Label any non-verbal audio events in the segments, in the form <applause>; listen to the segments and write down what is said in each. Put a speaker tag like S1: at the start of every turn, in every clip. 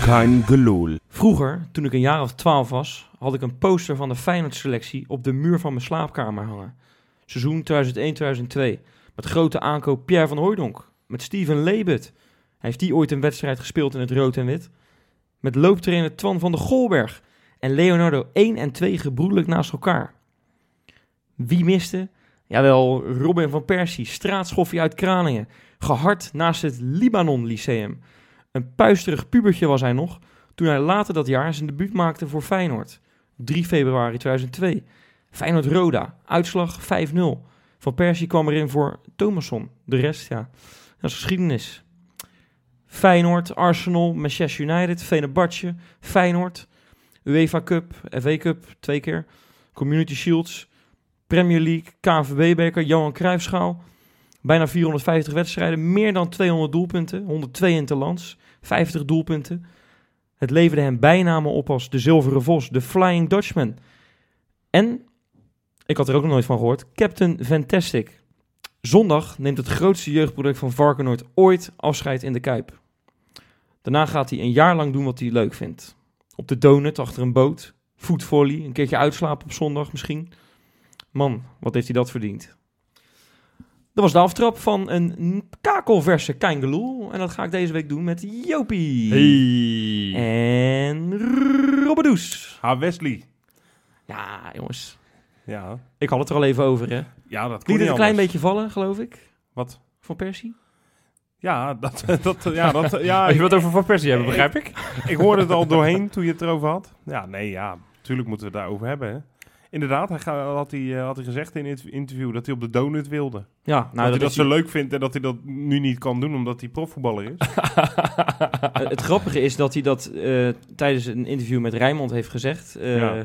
S1: Kein geloel.
S2: Vroeger, toen ik een jaar of twaalf was, had ik een poster van de Feyenoord-selectie op de muur van mijn slaapkamer hangen. Seizoen 2001-2002. Met grote aankoop Pierre van Hooijdonk. Met Steven Lebet. Heeft die ooit een wedstrijd gespeeld in het rood en wit? Met looptrainer Twan van de Golberg. En Leonardo 1 en 2 gebroedelijk naast elkaar. Wie miste? Jawel, Robin van Persie, straatschoffie uit Kraningen. Gehard naast het Libanon Lyceum. Een puisterig pubertje was hij nog, toen hij later dat jaar zijn debuut maakte voor Feyenoord. 3 februari 2002. Feyenoord-Roda, uitslag 5-0. Van Persie kwam erin voor Thomasson. De rest, ja, dat is geschiedenis. Feyenoord, Arsenal, Manchester United, Fenerbahce, Feyenoord, UEFA Cup, FA Cup twee keer, Community Shields, Premier League, KNVB-beker, Johan Cruijffschaal. Bijna 450 wedstrijden, meer dan 200 doelpunten, 102 in het lands, 50 doelpunten. Het leverde hem bijnamen op als de Zilveren Vos, de Flying Dutchman. En, ik had er ook nog nooit van gehoord, Captain Fantastic. Zondag neemt het grootste jeugdproduct van Varkenoord ooit afscheid in de Kuip. Daarna gaat hij een jaar lang doen wat hij leuk vindt. Op de donut, achter een boot, voetvolley, een keertje uitslapen op zondag misschien. Man, wat heeft hij dat verdiend. Dat was de aftrap van een kakelverse Keingeloel. En dat ga ik deze week doen met Jopie.
S1: Hey.
S2: Eh. En Robbedoes.
S1: Ha, Wesley.
S2: Ja, jongens.
S1: Ja.
S2: Ik had het er al even over, hè.
S1: Ja, dat kon niet
S2: Liet het een klein
S1: anders.
S2: beetje vallen, geloof ik,
S1: Wat?
S2: van Persie.
S1: Ja, dat... <laughs> dat ja, dat ja
S3: Als je
S1: ik,
S3: wat over Van Persie hebben, begrijp ik.
S1: ik hoorde het al doorheen toen je het erover had. Ja, nee, ja. Natuurlijk moeten we het daarover hebben, hè. Inderdaad, hij ga- had hij, eh, had hij gezegd in het interview dat hij op de donut wilde.
S2: Ja,
S1: Nou, dat, hij dat
S2: is-
S1: zo leuk vindt en dat hij dat nu niet kan doen omdat hij profvoetballer is.
S2: eh, het grappige is dat hij dat eh, tijdens een interview met Rijnmond heeft gezegd. eh,
S1: Ja.
S2: eh,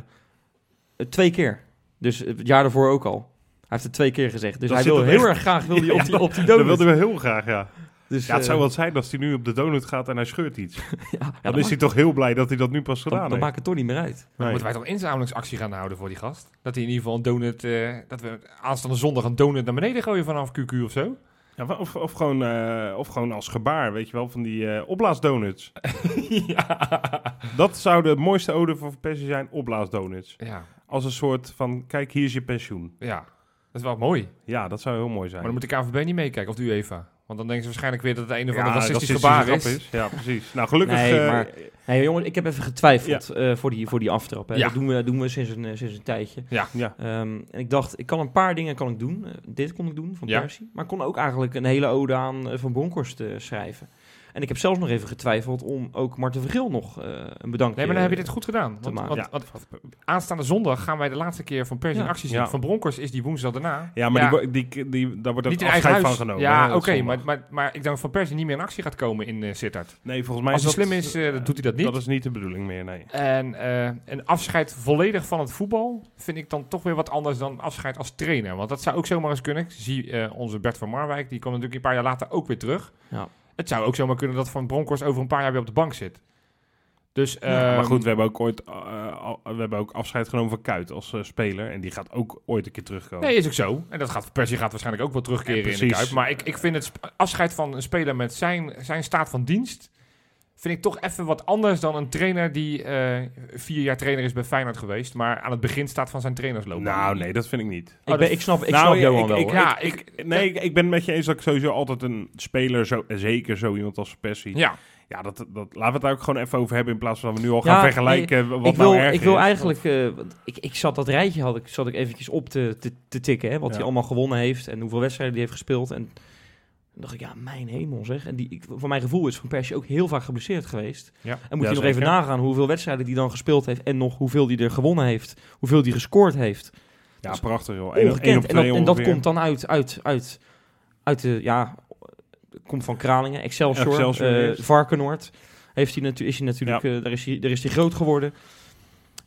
S2: Twee keer. Dus het jaar daarvoor ook al. Hij heeft het twee keer gezegd. Dus
S1: Dat
S2: hij
S1: zit
S2: wil
S1: hem
S2: heel
S1: echt-
S2: erg
S1: <laughs>
S2: graag wil die op, die, op die
S1: dat
S2: donut.
S1: wilden we heel graag, ja.
S2: Dus,
S1: Ja, het
S2: eh,
S1: zou wel zijn als hij nu op de donut gaat en hij scheurt iets.
S2: ja, ja,
S1: Dan
S2: dat
S1: is hij toch heel blij dat hij dat nu pas
S2: maakt-
S1: gedaan
S2: dat
S1: heeft.
S2: maakt het toch niet meer uit.
S1: Nee.
S3: Moeten wij dan inzamelingsactie gaan houden voor die gast? Dat hij in ieder geval een donut... eh, dat we aanstaande zondag een donut naar beneden gooien vanaf QQ of zo?
S1: Ja, wa- of, of, gewoon, eh, of gewoon als gebaar, weet je wel, van die eh opblaasdonuts.
S3: <laughs> ja.
S1: Dat zou de mooiste ode voor Persie zijn, opblaasdonuts.
S3: ja.
S1: Als een soort van, kijk, hier is je pensioen.
S3: Ja. Dat is wel mooi.
S1: Ja, dat zou heel mooi zijn.
S3: Maar dan moet de KVB niet meekijken, of de UEFA. Want dan denken ze waarschijnlijk weer dat het een of
S1: ja,
S3: ander racistisch
S1: racistische
S3: gebaar
S1: grap
S3: is.
S1: Ja, precies. Nou, gelukkig...
S2: Nee,
S1: eh,
S2: maar- Nee, jongen, ik heb even getwijfeld eh, voor, die, voor die aftrap. Hè.
S3: Ja.
S2: Dat doen we, doen we sinds, een, eh, sinds een tijdje.
S1: Ja,
S2: Ehm, en ik dacht, ik kan een paar dingen kan ik doen. Eh, dit kon ik doen van
S3: Ja.
S2: Persie. Maar ik kon ook eigenlijk een hele ode aan eh, Van Bronckhorst eh, schrijven. En ik heb zelfs nog even getwijfeld om ook Marten Vergil nog eh, een bedankje...
S3: Nee, maar dan heb je dit goed gedaan.
S2: te
S3: Want,
S2: maken.
S3: want-
S1: Ja.
S3: want aanstaande zondag gaan wij de laatste keer van Persie
S2: Ja.
S3: in actie zien.
S1: Ja.
S3: Van Bronkers is die woensdag daarna.
S1: ja maar Die, wo- die, die, daar wordt ook
S3: niet in eigen
S1: afscheid
S3: huis.
S1: van genomen. hè,
S3: ja, oké,
S1: dat zondag.
S3: maar, maar, maar ik denk dat Van Persie niet meer in actie gaat komen in eh Sittard.
S1: Nee, volgens mij
S3: Als hij
S1: dat-
S3: slim is, eh, doet hij dat niet.
S1: Dat is niet de bedoeling meer, nee.
S3: En eh, een afscheid volledig van het voetbal vind ik dan toch weer wat anders dan een afscheid als trainer. Want dat zou ook zomaar eens kunnen. Ik zie eh, onze Bert van Marwijk, die kwam natuurlijk een paar jaar later ook weer terug.
S2: Ja.
S3: Het zou ook zomaar kunnen dat Van Bronckhorst over een paar jaar weer op de bank zit. Dus,
S1: Ja, maar
S3: ehm,
S1: goed, we hebben ook ooit eh, al- we hebben ook afscheid genomen van Kuit als eh, speler. En die gaat ook ooit een keer terugkomen.
S3: Nee, is ook zo. En dat gaat, Persie gaat waarschijnlijk ook wel terugkeren
S1: Ja,
S3: in de
S1: precies.
S3: Kuip. Maar ik, ik vind het sp- afscheid van een speler met zijn, zijn staat van dienst... vind ik toch even wat anders dan een trainer die eh, vier jaar trainer is bij Feyenoord geweest... maar aan het begin staat van zijn trainersloop.
S1: Nou, nee, dat vind ik niet.
S2: ik, ben, ik snap, ik
S1: Nou,
S2: snap
S1: ik-
S2: Johan
S1: ik-
S2: wel,
S1: ik-
S2: hoor.
S3: ja, ik,
S1: Nee, ik, ik ben het met je eens dat ik sowieso altijd een speler, zo, en zeker zo iemand als Persie. Ja,
S3: ja,
S1: dat, dat, laten we het daar ook gewoon even over hebben in plaats van dat we nu al
S2: Ja,
S1: gaan vergelijken wat
S2: ik wil,
S1: nou erger
S2: ik wil
S1: is.
S2: eigenlijk... eh, want ik, ik zat dat rijtje had ik, zat ik eventjes op te, te, te tikken. Hè, wat
S1: Ja.
S2: hij allemaal gewonnen heeft en hoeveel wedstrijden hij heeft gespeeld. En toen dacht ik, ja, mijn hemel zeg. En die, ik, voor mijn gevoel is Van Persie ook heel vaak geblesseerd geweest.
S3: ja.
S2: En moet
S1: Ja,
S2: je nog
S1: zeker.
S2: even nagaan hoeveel wedstrijden die dan gespeeld heeft. En nog hoeveel die er gewonnen heeft. Hoeveel die gescoord heeft.
S1: Ja, prachtig joh. Eén op- één
S2: Ongekend.
S1: op
S2: En dat,
S1: twee
S2: en dat
S1: ongeveer.
S2: komt dan uit, uit, uit, uit de, ja, komt van Kralingen, Excelsior,
S1: Excelsior
S2: eh,
S1: eerst.
S2: Varkenoord. Heeft hij natu- is hij natuurlijk, eh, daar, is hij, daar is hij groot geworden.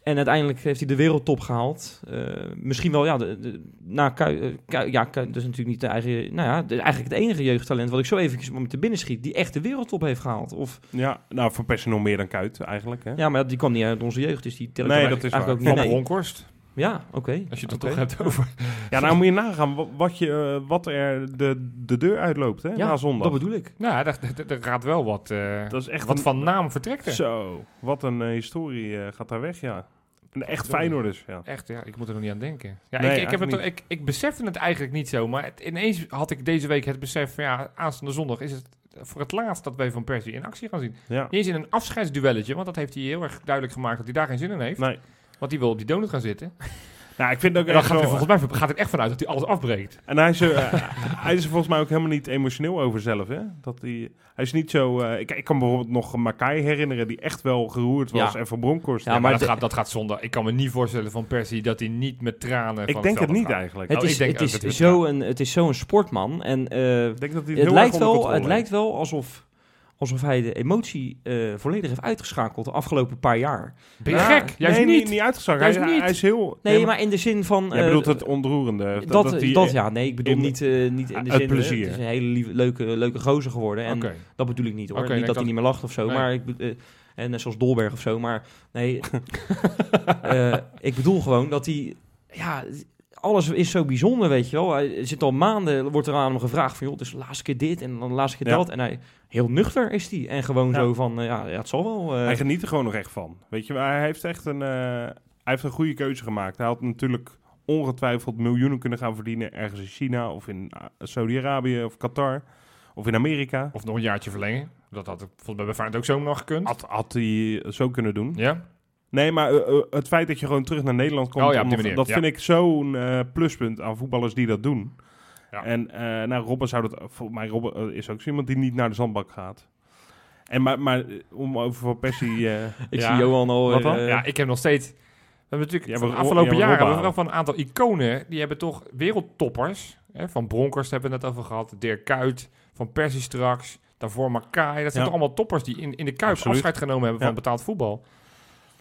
S2: En uiteindelijk heeft hij de wereldtop gehaald. Eh, misschien wel, ja, de, de- na Kui- eh, Kui- ja, Kui- dat is natuurlijk niet de eigen, nou ja, de- eigenlijk het enige jeugdtalent wat ik zo eventjes om te binnen schiet, die echt de wereldtop heeft gehaald. Of,
S1: Ja, nou, Van Persie nog meer dan Kuit eigenlijk. Hè?
S2: ja, maar die kwam niet uit onze jeugd, dus die tel ik
S1: Nee,
S2: dan
S1: dat is
S2: eigenlijk eigenlijk
S1: waar.
S2: ook
S3: Van
S2: niet mee.
S3: Bronkhorst,
S2: Ja, oké.
S3: als je het
S2: Oké.
S3: toch hebt over.
S1: Ja, nou moet je nagaan wat, wat, je, eh, wat er de, de deur uitloopt hè,
S2: Ja,
S1: na zondag.
S2: Dat bedoel ik.
S3: <laughs> Nou, daar, daar, daar gaat wel wat, eh,
S1: Dat is echt
S3: wat
S1: een-
S3: van naam vertrekt. er.
S1: Zo, wat een eh, historie eh, gaat daar weg, ja. Een echt Feyenoorders, ja.
S3: Echt, ja, ik moet er nog niet aan denken. Ja,
S1: Nee,
S3: ik, ik, heb het,
S1: eigenlijk
S3: toch- ik, ik besefte het eigenlijk niet zo, maar het- ineens had ik deze week het besef van ja, aanstaande zondag is het voor het laatst dat wij Van Persie in actie gaan zien.
S1: ja.
S3: Niet eens in een afscheidsduelletje, want dat heeft hij heel erg duidelijk gemaakt dat hij daar geen zin in heeft.
S1: Nee.
S3: Want hij wil op die donut gaan zitten.
S1: Nou, ik vind ook
S3: En dan
S1: echt
S3: gaat hij,
S1: wel-
S3: volgens mij gaat hij echt vanuit dat hij alles afbreekt.
S1: En hij is, er, eh, <laughs> hij is er volgens mij ook helemaal niet emotioneel over zelf, hè? Dat hij, hij is niet zo... eh, ik, ik kan bijvoorbeeld nog Makai herinneren, die echt wel geroerd was
S2: Ja.
S1: en van Bronkhorst.
S2: Ja,
S3: Ja, maar,
S2: maar
S3: dat,
S2: de-
S3: gaat, dat gaat zondag. Ik kan me niet voorstellen van Persie dat hij niet met tranen van
S1: ik denk het
S3: veld
S1: niet
S3: gaat.
S1: eigenlijk.
S2: Het
S3: Nou,
S2: is,
S3: ik denk
S2: het
S3: ook dat hij
S2: is
S3: het
S2: zo een- het is zo'n sportman. En eh,
S1: Ik denk dat hij het
S2: het,
S1: heel
S2: lijkt
S1: erg onder
S2: wel,
S1: controle
S2: het lijkt
S1: heeft.
S2: wel alsof, alsof hij de emotie eh, volledig heeft uitgeschakeld de afgelopen paar jaar.
S3: Ben je
S2: Ja.
S3: gek? Juist
S1: nee,
S3: niet.
S1: niet, niet uitgeschakeld.
S2: Juist
S1: hij,
S2: niet.
S1: hij is heel...
S2: Nee,
S1: helemaal-
S2: maar in de zin van...
S1: Jij
S2: eh,
S1: bedoelt het ontroerende.
S2: dat,
S1: Dat,
S2: dat,
S1: hij- e-
S2: ja, nee, ik bedoel
S1: in-
S2: niet, eh, niet in de
S1: uit
S2: zin...
S1: plezier.
S2: Het is een hele lieve- leuke, leuke gozer geworden. En
S3: Oké.
S2: dat bedoel ik niet hoor.
S3: Oké,
S2: niet
S3: nee,
S2: dat
S3: dat-
S2: hij niet meer lacht of zo,
S3: Nee.
S2: maar ik... bedoel, eh, en net zoals Dolberg of zo, maar
S1: <laughs>
S2: nee. eh, ik bedoel gewoon dat hij... Ja, alles is zo bijzonder, weet je wel. Hij zit al maanden, wordt er aan hem gevraagd van... joh, het is de laatste keer dit en dan de laatste keer
S1: Ja.
S2: dat. En hij, heel nuchter is hij. En gewoon
S1: Ja.
S2: zo van, eh, ja, ja, het zal wel... eh,
S1: Hij geniet er gewoon nog echt van. Weet je, maar hij heeft echt een, eh, hij heeft een goede keuze gemaakt. Hij had natuurlijk ongetwijfeld miljoenen kunnen gaan verdienen ergens in China of in ah, Saudi-Arabië of Qatar of in Amerika.
S3: Of nog een jaartje verlengen. Dat had ik volgens mij bij Feyenoord ook zo nog gekund.
S1: Had, had hij zo kunnen doen.
S3: Ja?
S1: Nee, maar eh, eh, het feit dat je gewoon terug naar Nederland komt,
S3: Oh ja, op
S1: om
S3: die
S1: nog-
S3: manier,
S1: dat
S3: ja.
S1: vind ik zo'n eh, pluspunt aan voetballers die dat doen.
S3: Ja.
S1: En eh nou, Robben zou dat, volgens mij Robben eh, is ook zo iemand die niet naar de zandbak gaat. En maar, maar eh, om over Van Persie,
S3: <laughs>
S1: eh,
S2: ik
S3: ja.
S2: zie Johan al...
S1: Wat dan?
S2: eh,
S3: ja, ik heb nog steeds... We hebben natuurlijk
S1: Ja,
S3: van
S1: we-
S3: de afgelopen
S1: ja, we
S3: jaren hebben we
S1: Robben
S3: wel van een aantal iconen. Die hebben toch wereldtoppers. Hè? Van Bronkers hebben we het net over gehad. Dirk Kuyt, Van Persie straks. Daarvoor Makai. Dat zijn
S1: Ja.
S3: toch allemaal toppers die in, in de Kuip
S1: Absoluut.
S3: afscheid genomen hebben van
S1: Ja.
S3: betaald voetbal.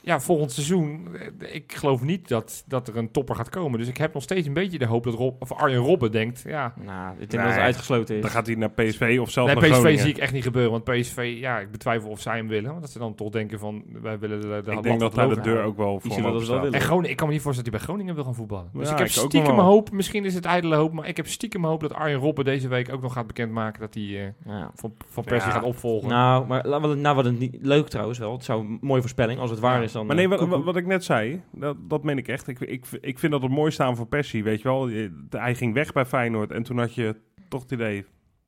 S3: Ja, volgend seizoen. eh, Ik geloof niet dat, dat er een topper gaat komen. Dus ik heb nog steeds een beetje de hoop dat Rob, of Arjen Robben denkt... Ja,
S2: Nou, ik denk
S1: Nee.
S2: dat het uitgesloten is.
S1: dan gaat hij naar PSV of zelfs
S3: Nee,
S1: naar
S3: PSV
S1: Groningen.
S3: zie ik echt niet gebeuren. Want PSV, ja, ik betwijfel of zij hem willen. Want dat ze dan toch denken van, wij willen de, de
S1: ik
S3: lat
S1: denk dat
S3: wat
S1: daar de
S3: hoger
S1: deur
S3: houden.
S1: ook wel voor
S2: zullen
S1: hem
S2: dat
S1: open
S2: wel
S1: staat.
S3: En Groningen, ik kan me niet voorstellen dat hij bij Groningen wil gaan voetballen. Dus
S1: Ja,
S3: ik heb
S1: ik ook nog
S3: stiekem
S1: wel.
S3: hoop, misschien is het ijdele hoop, maar ik heb stiekem hoop dat Arjen Robben deze week ook nog gaat bekendmaken dat hij eh,
S2: Ja.
S3: van, van Persie
S1: Ja.
S3: gaat opvolgen.
S2: Nou, maar laten we- nou, wat het niet leuk trouwens wel. Het zou een mooie voorspelling als het waar is dan.
S1: Maar nee,
S2: eh,
S1: wat,
S2: koekoek.
S1: wat, wat ik net zei, dat, dat meen ik echt. Ik, ik, ik vind dat het mooiste aan voor Persie, weet je wel. Je- Hij ging weg bij Feyenoord en toen had je toch het idee,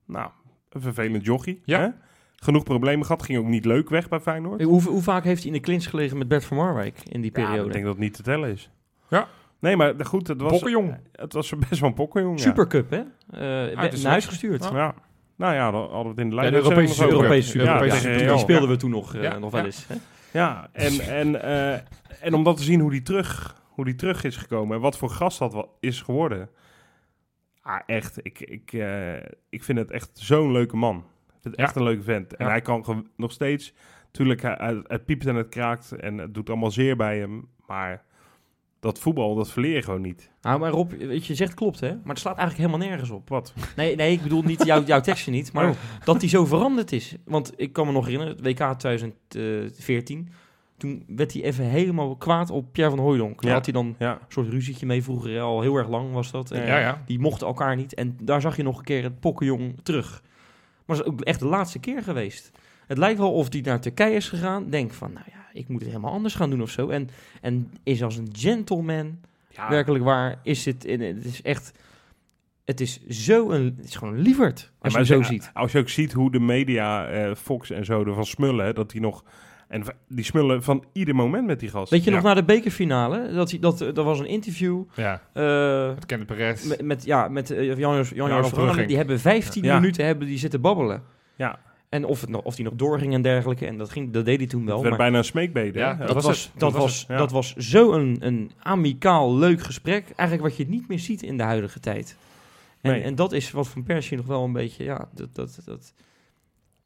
S1: nou, een vervelend jochie.
S3: Ja.
S1: Hè? Genoeg problemen gehad, ging ook niet leuk weg bij Feyenoord.
S2: Hoe, hoe vaak heeft hij in de clinch gelegen met Bert van Marwijk in die
S1: Ja,
S2: periode?
S1: ik denk dat het niet te tellen is.
S3: Ja.
S1: Nee, maar de- goed, het was,
S3: Bokkenjong.
S1: het was best wel een pokkenjong. ja.
S2: Supercup, hè? Eh, werd
S3: Uit
S2: naar
S3: de
S2: huis
S3: selectie.
S2: gestuurd.
S3: Ja.
S1: Ja. Nou ja, dan hadden we het in de
S3: Ja,
S1: lijn.
S3: de Europese
S1: nog over.
S3: Supercup.
S2: Europese
S3: Ja,
S2: Supercup.
S1: Europese
S2: Ja,
S1: Real.
S2: Die speelden we toen nog, eh,
S3: Ja,
S2: nog wel
S3: ja.
S2: eens. Hè?
S1: Ja, en, en, eh, en om dat te zien hoe die terug, hoe die terug is gekomen en wat voor gast dat wa- is geworden. Ah, echt, ik, ik, eh, ik vind het echt zo'n leuke man. Ik vind het
S3: Ja.
S1: echt een leuke vent. En
S3: Ja.
S1: hij kan ge- nog steeds, natuurlijk, het piept en het kraakt en het doet allemaal zeer bij hem. Maar dat voetbal, dat verleer je gewoon niet.
S2: Nou, maar Rob, weet je, je zegt klopt, hè? Maar het slaat eigenlijk helemaal nergens op.
S1: Wat?
S2: Nee, nee ik bedoel niet jouw, jouw tekstje niet, maar
S1: Oh.
S2: dat hij zo veranderd is. Want ik kan me nog herinneren, het WK 2014. Toen werd hij even helemaal kwaad op Pierre van Hooijdonk. Daar
S1: Ja.
S2: had hij dan een
S1: Ja,
S2: soort ruzietje mee vroeger, hè, al heel erg lang was dat. En-
S1: Ja,
S3: Ja, ja.
S2: Die mochten elkaar niet. En daar zag je nog een keer het pokkenjong terug. Maar dat is ook echt de laatste keer geweest. Het lijkt wel of die naar Turkije is gegaan. Denkt van, nou ja, ik moet het helemaal anders gaan doen of zo. En, en is als een gentleman,
S3: Ja.
S2: werkelijk waar, is het... in- Het is echt... Het is zo een... Het is gewoon een lieverd, als
S1: Ja,
S2: je
S1: maar
S2: hem zo
S1: als je-
S2: ziet.
S1: Als je ook ziet hoe de media, eh, Fox en zo, ervan smullen, hè, dat die nog... En v- die smullen van ieder moment met die gast.
S2: Weet je
S3: Ja.
S2: nog, na de bekerfinale, dat, hij- dat, dat was een interview...
S3: ja,
S2: eh,
S3: met Kenneth Perez.
S2: met, met, ja, met eh, Jan Joos- Jan
S3: Ja,
S2: Joos
S3: op
S2: Verhagen,
S3: Brugging.
S2: Die hebben 15
S1: Ja.
S2: minuten hebben die zitten babbelen.
S1: Ja.
S2: En of, het, nog- of die nog doorging en dergelijke. En dat, ging, dat deed hij toen wel.
S1: Het werd
S2: maar
S1: bijna een smeekbede.
S3: Ja,
S1: hè?
S3: dat
S2: dat,
S3: was
S2: was,
S3: het.
S2: dat,
S3: Dat was
S2: was,
S1: het, ja.
S2: dat was zo een, een amicaal, leuk gesprek. Eigenlijk wat je niet meer ziet in de huidige tijd. En,
S1: Nee.
S2: en dat is wat Van Persie nog wel een beetje, ja, dat... dat, dat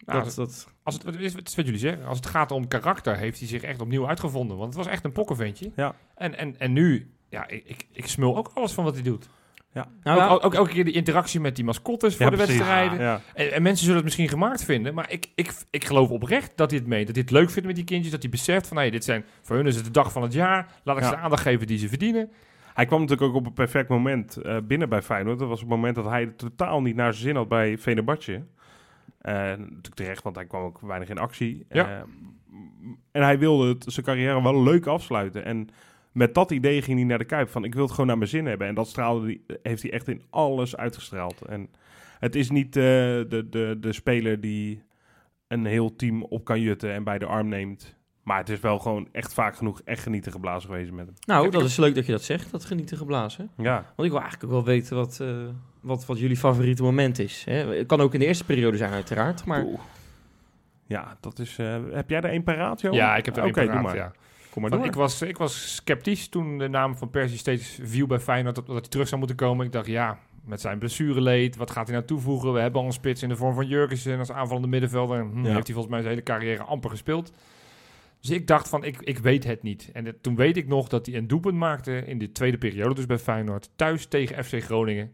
S3: Nou,
S2: dat, dat,
S3: Als het, het is, het is wat jullie zeggen. Als het gaat om karakter, heeft hij zich echt opnieuw uitgevonden. Want het was echt een pokkenventje.
S1: Ja.
S3: En, en, en nu, ja, ik, ik, ik smul ook alles van wat hij doet.
S2: nou, ja,
S3: ook, ook, ook elke keer die interactie met die mascottes voor de
S1: precies.
S3: wedstrijden.
S1: Ja.
S3: En, en mensen zullen het misschien gemaakt vinden, maar ik, ik, ik geloof oprecht dat hij het meent. Dat hij het leuk vindt met die kindjes, dat hij beseft van, hé, dit zijn, voor hun is het de dag van het jaar. Laat ik
S1: Ja.
S3: ze de aandacht geven die ze verdienen.
S1: Hij kwam natuurlijk ook op een perfect moment eh, binnen bij Feyenoord. Dat was het moment dat hij het totaal niet naar zijn zin had bij Venerbahce. Eh natuurlijk terecht, want hij kwam ook weinig in actie.
S3: Ja.
S1: Eh, m- en hij wilde het, zijn carrière wel leuk afsluiten. En met dat idee ging hij naar de Kuip. Van ik wil het gewoon naar mijn zin hebben. En dat straalde hij, heeft hij echt in alles uitgestraald. En het is niet eh, de, de, de speler die een heel team op kan jutten en bij de arm neemt. Maar het is wel gewoon echt vaak genoeg echt genieten geblazen geweest met hem.
S2: nou, dat is leuk dat je dat zegt, dat genieten geblazen.
S1: Ja.
S2: Want ik wil eigenlijk ook wel weten wat, eh, wat, wat jullie favoriete moment is. Hè? Het kan ook in de eerste periode zijn, uiteraard. Maar
S1: Oeh. Ja, dat is... eh, heb jij er één paraat, joh?
S3: Ja, ik heb er
S1: Oké,
S3: één paraat,
S1: doe maar.
S3: ja.
S1: Kom maar
S3: Want
S1: door.
S3: ik was, ik was sceptisch toen de naam van Persie steeds viel bij Feyenoord, dat, dat hij terug zou moeten komen. Ik dacht, ja, met zijn blessureleed, wat gaat hij nou toevoegen? We hebben al een spits in de vorm van Jurgensen als aanvallende middenvelder. Hm,
S1: Ja.
S3: Heeft hij volgens mij zijn hele carrière amper gespeeld. Dus ik dacht van, ik, ik weet het niet. En het- toen weet ik nog dat hij een doelpunt maakte in de tweede periode, dus bij Feyenoord, thuis tegen FC Groningen.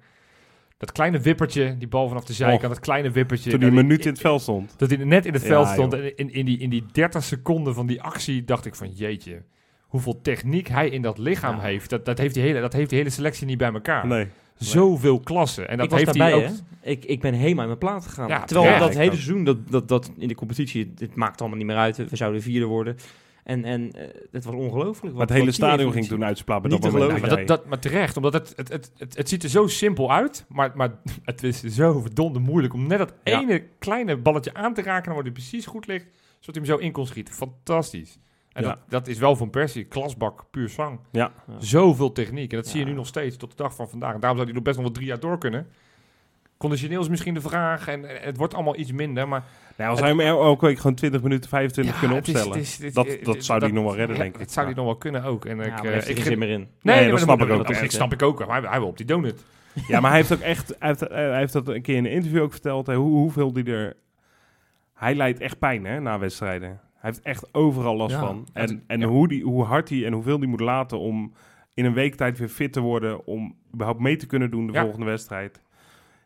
S3: Dat kleine wippertje, die bal vanaf de zijkant, dat kleine wippertje.
S1: Toen die
S3: Nou,
S1: minuut in het veld stond.
S3: dat hij net in het
S1: Ja,
S3: veld stond.
S1: joh.
S3: En in, in, die, in die 30 seconden van die actie dacht ik van jeetje, hoeveel techniek hij in dat lichaam
S2: Ja.
S3: heeft. Dat, dat, heeft die hele, dat heeft die hele selectie niet bij elkaar.
S1: Nee.
S3: Zoveel klassen. En dat
S2: ik was
S3: heeft
S2: daarbij,
S3: hij ook.
S2: hè? Ik, ik ben helemaal in mijn plaat gegaan.
S3: Ja,
S2: Terwijl
S3: terecht.
S2: dat
S1: Ik
S2: hele
S1: ook.
S2: seizoen, dat, dat, dat in de competitie, het maakt allemaal niet meer uit. We zouden vierde worden. En, en eh, het was ongelooflijk.
S1: Maar
S2: wat-
S1: het hele
S2: wat die
S1: stadion ging
S2: evolutie-
S1: toen uitsplaat met
S2: Niet
S1: dat
S2: te
S1: moment.
S3: Maar,
S1: dat
S3: dat, dat, maar terecht, omdat het, het, het, het, het ziet er zo simpel uit, maar, maar <laughs> het is zo verdomde moeilijk om net dat
S1: Ja.
S3: ene kleine balletje aan te raken, dan wordt hij precies goed ligt, zodat hij hem zo in kon schieten. Fantastisch. En
S1: Ja.
S3: dat, dat is wel van Persie, klasbak, puur zang.
S1: Ja.
S2: Ja.
S3: Zoveel techniek. En dat zie je
S2: Ja.
S3: nu nog steeds tot de dag van vandaag. En daarom zou hij nog best nog wel drie jaar door kunnen. Conditioneel is misschien de vraag. En, en het wordt allemaal iets minder. Maar
S1: nou, als hij hem el- elke week gewoon 20 minuten 25
S3: Ja,
S1: kunnen
S3: het is-
S1: opstellen.
S3: het is- het-
S1: dat,
S3: het-
S1: dat zou hij nog wel redden,
S3: ja,
S1: denk ik.
S3: Dat zou
S1: Ja.
S3: hij nog wel kunnen ook. En
S2: Ja,
S3: ik,
S2: maar
S3: eh,
S2: hij heeft er
S3: ik
S2: geen
S3: geef-
S2: zin meer in.
S3: Nee,
S1: Nee,
S3: nee,
S1: dat
S3: maar
S1: snap
S3: moet-
S1: ik ook.
S3: Dat, dat
S1: Terecht,
S3: snap ik ook. wel. Hij, hij wil op die donut.
S1: Ja, maar hij heeft ook echt, hij heeft, eh, hij heeft dat een keer in een interview ook verteld, hè, hoe, hoeveel die er... Hij leidt echt pijn, hè, na wedstrijden. Hij heeft echt overal last
S3: Ja.
S1: van. En, en
S3: Ja.
S1: hoe, die, hoe hard hij en hoeveel die moet laten om in een week tijd weer fit te worden, om überhaupt mee te kunnen doen de
S3: Ja.
S1: volgende wedstrijd.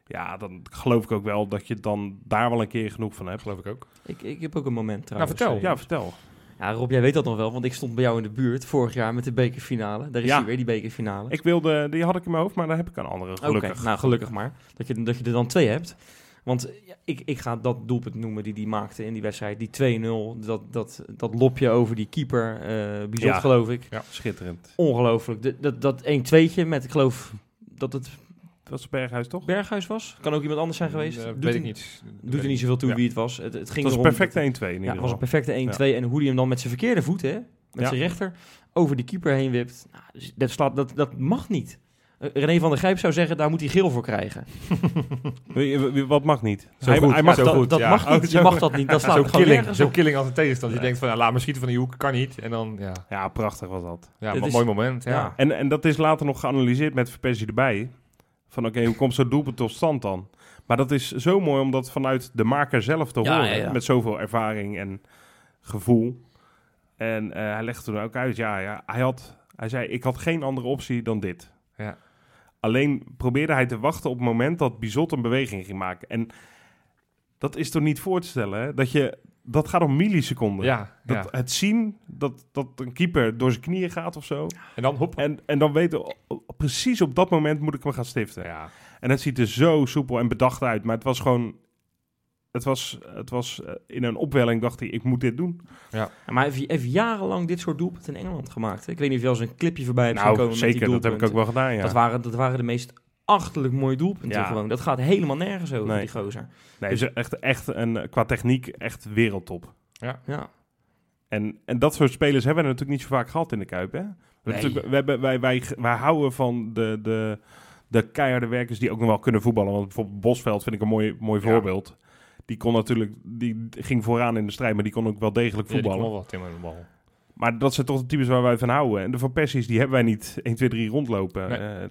S1: Ja, dan geloof ik ook wel dat je dan daar wel een keer genoeg van hebt. Dus,
S3: Geloof ik ook.
S2: Ik, ik heb ook een moment trouwens.
S3: Nou, vertel.
S2: eh,
S1: Ja, vertel.
S2: Ja, Rob, jij weet dat nog wel, want ik stond bij jou in de buurt vorig jaar met de bekerfinale. Daar is
S1: Ja.
S2: hij weer, die bekerfinale.
S1: Ik wilde, die had ik in mijn hoofd, maar daar heb ik een andere,
S2: Oké,
S1: gelukkig.
S2: nou gelukkig maar. Dat je, dat je er dan twee hebt. Want eh, ja, ik, ik ga dat doelpunt noemen die die maakte in die wedstrijd. Die 2-0, dat, dat, dat lopje over die keeper, eh Bizot
S1: Ja.
S2: geloof ik.
S1: Schitterend.
S2: Ongelooflijk. De- dat dat 1-2'tje met, ik geloof dat het
S1: Dat is Berghuis, toch?
S2: Berghuis was. Kan ook iemand anders zijn geweest.
S3: Eh,
S2: doet
S3: weet ik
S2: er-
S3: niet.
S2: Doet er niet zoveel toe
S3: Ja.
S2: wie het was. Het, het ging
S1: Het was een
S2: erom
S1: perfecte 1-2
S2: dat-
S1: in ieder
S2: Ja,
S1: geval.
S2: het was een perfecte 1-2. En hoe die hem dan met zijn verkeerde voet, hè, met
S1: Ja.
S2: zijn rechter, over die keeper heen wipt. Nou, dus dat, slaat, dat, dat mag niet. Eh, René van der Grijp zou zeggen, daar moet hij geel voor krijgen.
S1: Wie- wie- Wat mag niet?
S3: Zo
S1: hij,
S3: goed,
S1: hij mag
S3: zo
S1: dat-
S3: goed.
S2: dat
S3: ja.
S2: mag
S1: Oh,
S2: niet, je
S1: zo.
S2: mag dat niet. Dat slaat
S3: Zo'n
S2: gewoon
S3: killing,
S2: nergens
S3: zo'n
S2: op.
S3: killing als een tegenstander.
S1: Ja.
S3: Je denkt van, ja, laat maar schieten van die hoek. Kan niet. En dan, ja,
S1: Ja, prachtig was dat.
S3: ja
S2: Het
S3: wat
S2: is-
S3: mooi moment. Ja.
S2: ja.
S1: En, en dat is later nog geanalyseerd met Verpersie erbij. Van oké, hoe komt zo'n doelpunt tot stand dan? Maar dat is zo mooi om dat vanuit de maker zelf te
S2: Ja,
S1: horen.
S2: ja, ja.
S1: Met zoveel ervaring en gevoel. En eh, hij legde toen ook uit, ja, ja hij, had, hij zei, ik had geen andere optie dan dit.
S3: Ja.
S1: Alleen probeerde hij te wachten op het moment dat Bizot een beweging ging maken. En dat is toch niet voor te stellen, hè? Dat, je, dat gaat om milliseconden.
S3: Ja,
S1: Dat,
S3: ja.
S1: Het zien dat, dat een keeper door zijn knieën gaat of zo.
S3: En dan, hop.
S1: En, en dan weten we, o- o- precies op dat moment moet ik hem gaan stiften.
S3: Ja.
S1: En het ziet er zo soepel en bedacht uit. Maar het was gewoon... Het was, het was eh, in een opwelling, dacht hij, ik moet dit doen.
S2: Ja, Maar hij heeft, heeft jarenlang dit soort doelpunten in Engeland gemaakt. hè? Ik weet niet of je wel eens een clipje voorbij hebt zien
S1: nou,
S2: komen met
S1: zeker,
S2: die
S1: dat heb ik ook
S2: doelpunten.
S1: wel gedaan, ja.
S2: Dat, waren, dat waren de meest achterlijk mooie doelpunten
S1: Ja.
S2: gewoon. Dat gaat helemaal nergens over,
S1: Nee.
S2: die gozer.
S1: nee, het is echt, echt een, eh, qua techniek echt wereldtop.
S2: Ja.
S1: En, en dat soort spelers hebben we natuurlijk niet zo vaak gehad in de Kuip, hè? We hebben
S2: Nee.
S1: natuurlijk- we hebben, wij, wij, wij houden van de, de, de keiharde werkers die ook nog wel kunnen voetballen. Want bijvoorbeeld Bosveld vind ik een mooi, mooi
S3: Ja.
S1: voorbeeld. Die kon natuurlijk, die ging vooraan in de strijd, maar die kon ook wel degelijk
S3: Ja, die
S1: voetballen.
S3: kon wel wat in de bal.
S1: Maar dat zijn toch de types waar wij van houden. En de Van Persies, die hebben wij niet 1, 2, 3 rondlopen.
S3: Nee.
S1: Eh,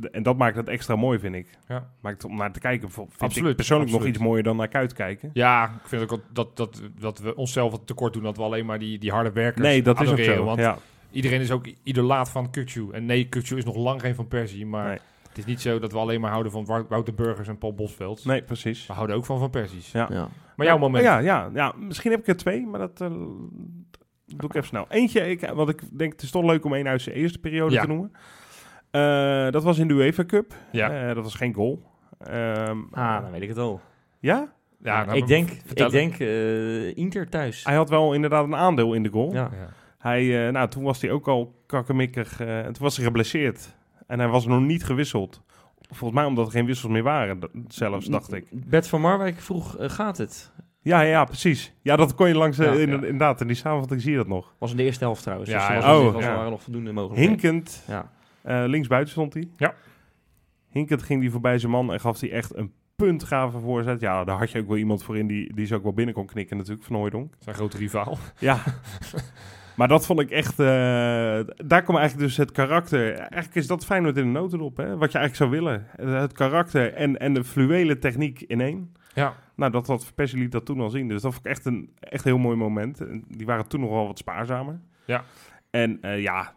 S1: d- en dat maakt het extra mooi, vind ik.
S3: Ja.
S1: Maakt het om naar te kijken, vo- vind
S3: Absoluut,
S1: ik persoonlijk nog
S3: absoluut.
S1: iets mooier dan naar kuit kijken.
S3: Ja, ik vind ook wel dat, dat, dat we onszelf wat tekort doen dat we alleen maar die, die harde werkers
S1: Nee, dat is ook
S3: adoreren,
S1: zo.
S3: Want
S1: ja.
S3: iedereen is ook i- idolaat van Kukju. En nee, Kukju is nog lang geen Van Persie, maar
S1: Nee.
S3: het is niet zo dat we alleen maar houden van Wou- Wouter Burgers en Paul Bosveld.
S1: Nee, precies.
S3: We houden ook van Van Persies.
S1: Ja.
S2: Ja.
S3: Maar jouw moment.
S1: Ja, ja, ja, misschien heb ik er twee, maar dat eh, doe ik even snel. Eentje, ik, wat ik denk, het is toch leuk om één uit zijn eerste periode
S3: Ja.
S1: te noemen. Eh, dat was in de UEFA Cup.
S3: Ja.
S1: Eh, dat was geen goal. Ehm,
S2: Ah, dan weet ik het al.
S1: ja,
S3: Ja, nou,
S2: ik denk,
S3: vertel Ah,
S2: ik denk eh, Inter thuis.
S1: hij had wel inderdaad een aandeel in de goal.
S2: Ja.
S3: Ja.
S1: Hij, eh, nou, toen was hij ook al kakkemikkig. eh, en toen was hij geblesseerd. En hij was nog niet gewisseld. Volgens mij omdat er geen wissels meer waren, d- zelfs, dacht ik.
S2: Bert van Marwijk vroeg, eh, gaat het?
S1: Ja, ja, ja, precies. Ja, dat kon je langs... eh,
S2: Ja, ja.
S1: inder- Inderdaad, in die samenvatting zie je dat nog.
S2: Was in de eerste helft trouwens.
S3: Ja,
S2: dus er
S3: ja.
S2: was nog-
S1: Oh,
S2: was-
S1: ja.
S2: waren nog voldoende mogelijkheden.
S1: Hinkend.
S2: Ja.
S1: eh, linksbuiten stond hij.
S3: Ja.
S1: Hinkend ging hij voorbij zijn man en gaf hij echt een puntgave voorzet. Ja, daar had je ook wel iemand voor in die, die ze ook wel binnen kon knikken natuurlijk, Van Hooijdonk.
S3: Zijn grote rivaal. <laughs>
S1: Ja. <laughs> maar dat vond ik echt... eh, daar kwam eigenlijk dus het karakter... Eigenlijk is dat Feyenoord in de notendop, hè? Wat je eigenlijk zou willen. Eh, Het karakter en, en de fluwele techniek in één.
S3: Ja.
S1: Nou, dat had Persie liet dat toen al zien. Dus dat vond ik echt een echt een heel mooi moment. En Die waren toen nog wel wat spaarzamer.
S3: Ja.
S1: En eh, ja,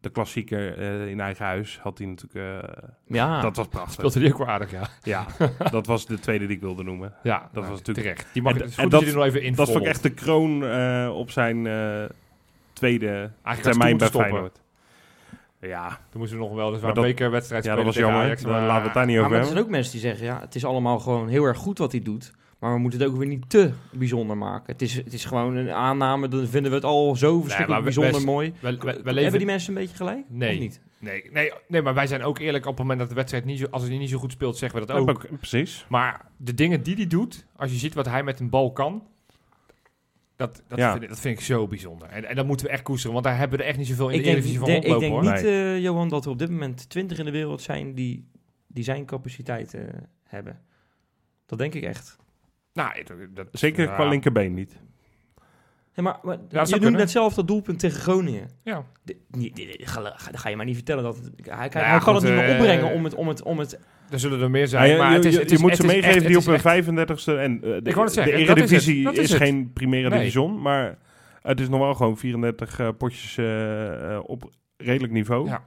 S1: de klassieker eh, in eigen huis had hij natuurlijk... eh,
S2: Ja.
S1: dat was prachtig.
S3: Ah. Speelt hij ook wel aardig, ja.
S1: Ja, dat was de tweede die ik wilde noemen.
S3: Ja, dat
S1: was natuurlijk-
S3: Nou, terecht. Die mag
S1: En
S3: ik,
S1: d-
S3: het is
S1: en
S3: goed dat
S1: dat-
S3: je er nog even in
S1: Dat vond ik
S3: volgt.
S1: echt de kroon eh, op zijn eh, tweede
S3: Eigenlijk had
S1: termijn
S3: Stoen
S1: bij
S3: te stoppen.
S1: Feyenoord. Ja,
S3: Toen moesten we nog wel eens
S1: Maar
S3: een
S1: dat-
S3: bekerwedstrijd
S1: ja, dat
S3: spelen
S1: was
S3: tegen
S1: jammer.
S3: Ajax,
S1: Daar laten we het daar niet
S2: maar,
S1: over
S2: maar er zijn
S1: hebben.
S2: ook mensen die zeggen, ja, het is allemaal gewoon heel erg goed wat hij doet. Maar we moeten het ook weer niet te bijzonder maken. Het is, het is gewoon een aanname, dan vinden we het al zo
S3: maar
S2: verschrikkelijk
S3: we-
S2: bijzonder
S3: best-
S2: mooi.
S3: We, we, we
S2: Hebben
S3: leven...
S2: die mensen een beetje gelijk?
S3: Nee.
S2: Of niet?
S3: nee, nee, nee, maar wij zijn ook eerlijk. Op het moment dat de wedstrijd niet zo, als hij niet zo goed speelt, zeggen we dat
S1: Heb
S3: ook.
S1: ik- precies.
S3: Maar de dingen die hij doet, als je ziet wat hij met een bal kan, dat, dat,
S1: Ja.
S3: vind, ik- dat vind ik zo bijzonder. En, en dat moeten we echt koesteren, want daar hebben we er echt niet zoveel in
S2: Ik
S3: de
S2: denk,
S3: Eredivisie van
S2: de- ik
S3: rondlopen,
S2: denk
S3: hoor.
S1: Nee.
S2: niet, eh, Johan, dat er op dit moment twintig in de wereld zijn die, die zijn capaciteit eh, hebben. Dat denk ik echt.
S3: Nou, dat- dat,
S1: Zeker
S3: ja.
S1: qua linkerbeen niet.
S2: Hey, maar, maar
S3: zou
S2: je noemt
S3: kunnen.
S2: net zelf dat doelpunt tegen Groningen.
S3: Ja.
S2: Dit- niet- dit- dit- ga, ga- ga je maar niet vertellen dat... het- Hij, hij,
S3: Nou ja,
S2: hij kan het
S3: goed,
S2: niet meer
S3: eh,
S2: opbrengen om het... Om het, om het
S3: Er zullen er meer
S1: Ja,
S3: zijn,
S1: je
S3: maar het is,
S1: je-
S3: het
S1: je
S3: is-
S1: moet
S3: het
S1: ze
S3: is echt-
S1: meegeven die
S3: het
S1: op
S3: is
S1: een 35e. En, eh, de,
S3: Ik wou net zeggen,
S1: de
S3: dat is het.
S1: Eredivisie
S3: Dat
S1: is,
S3: is het.
S1: geen primaire
S3: Nee.
S1: division. Maar het is nog wel gewoon 34 eh, potjes eh, eh, op redelijk niveau.
S3: Ja.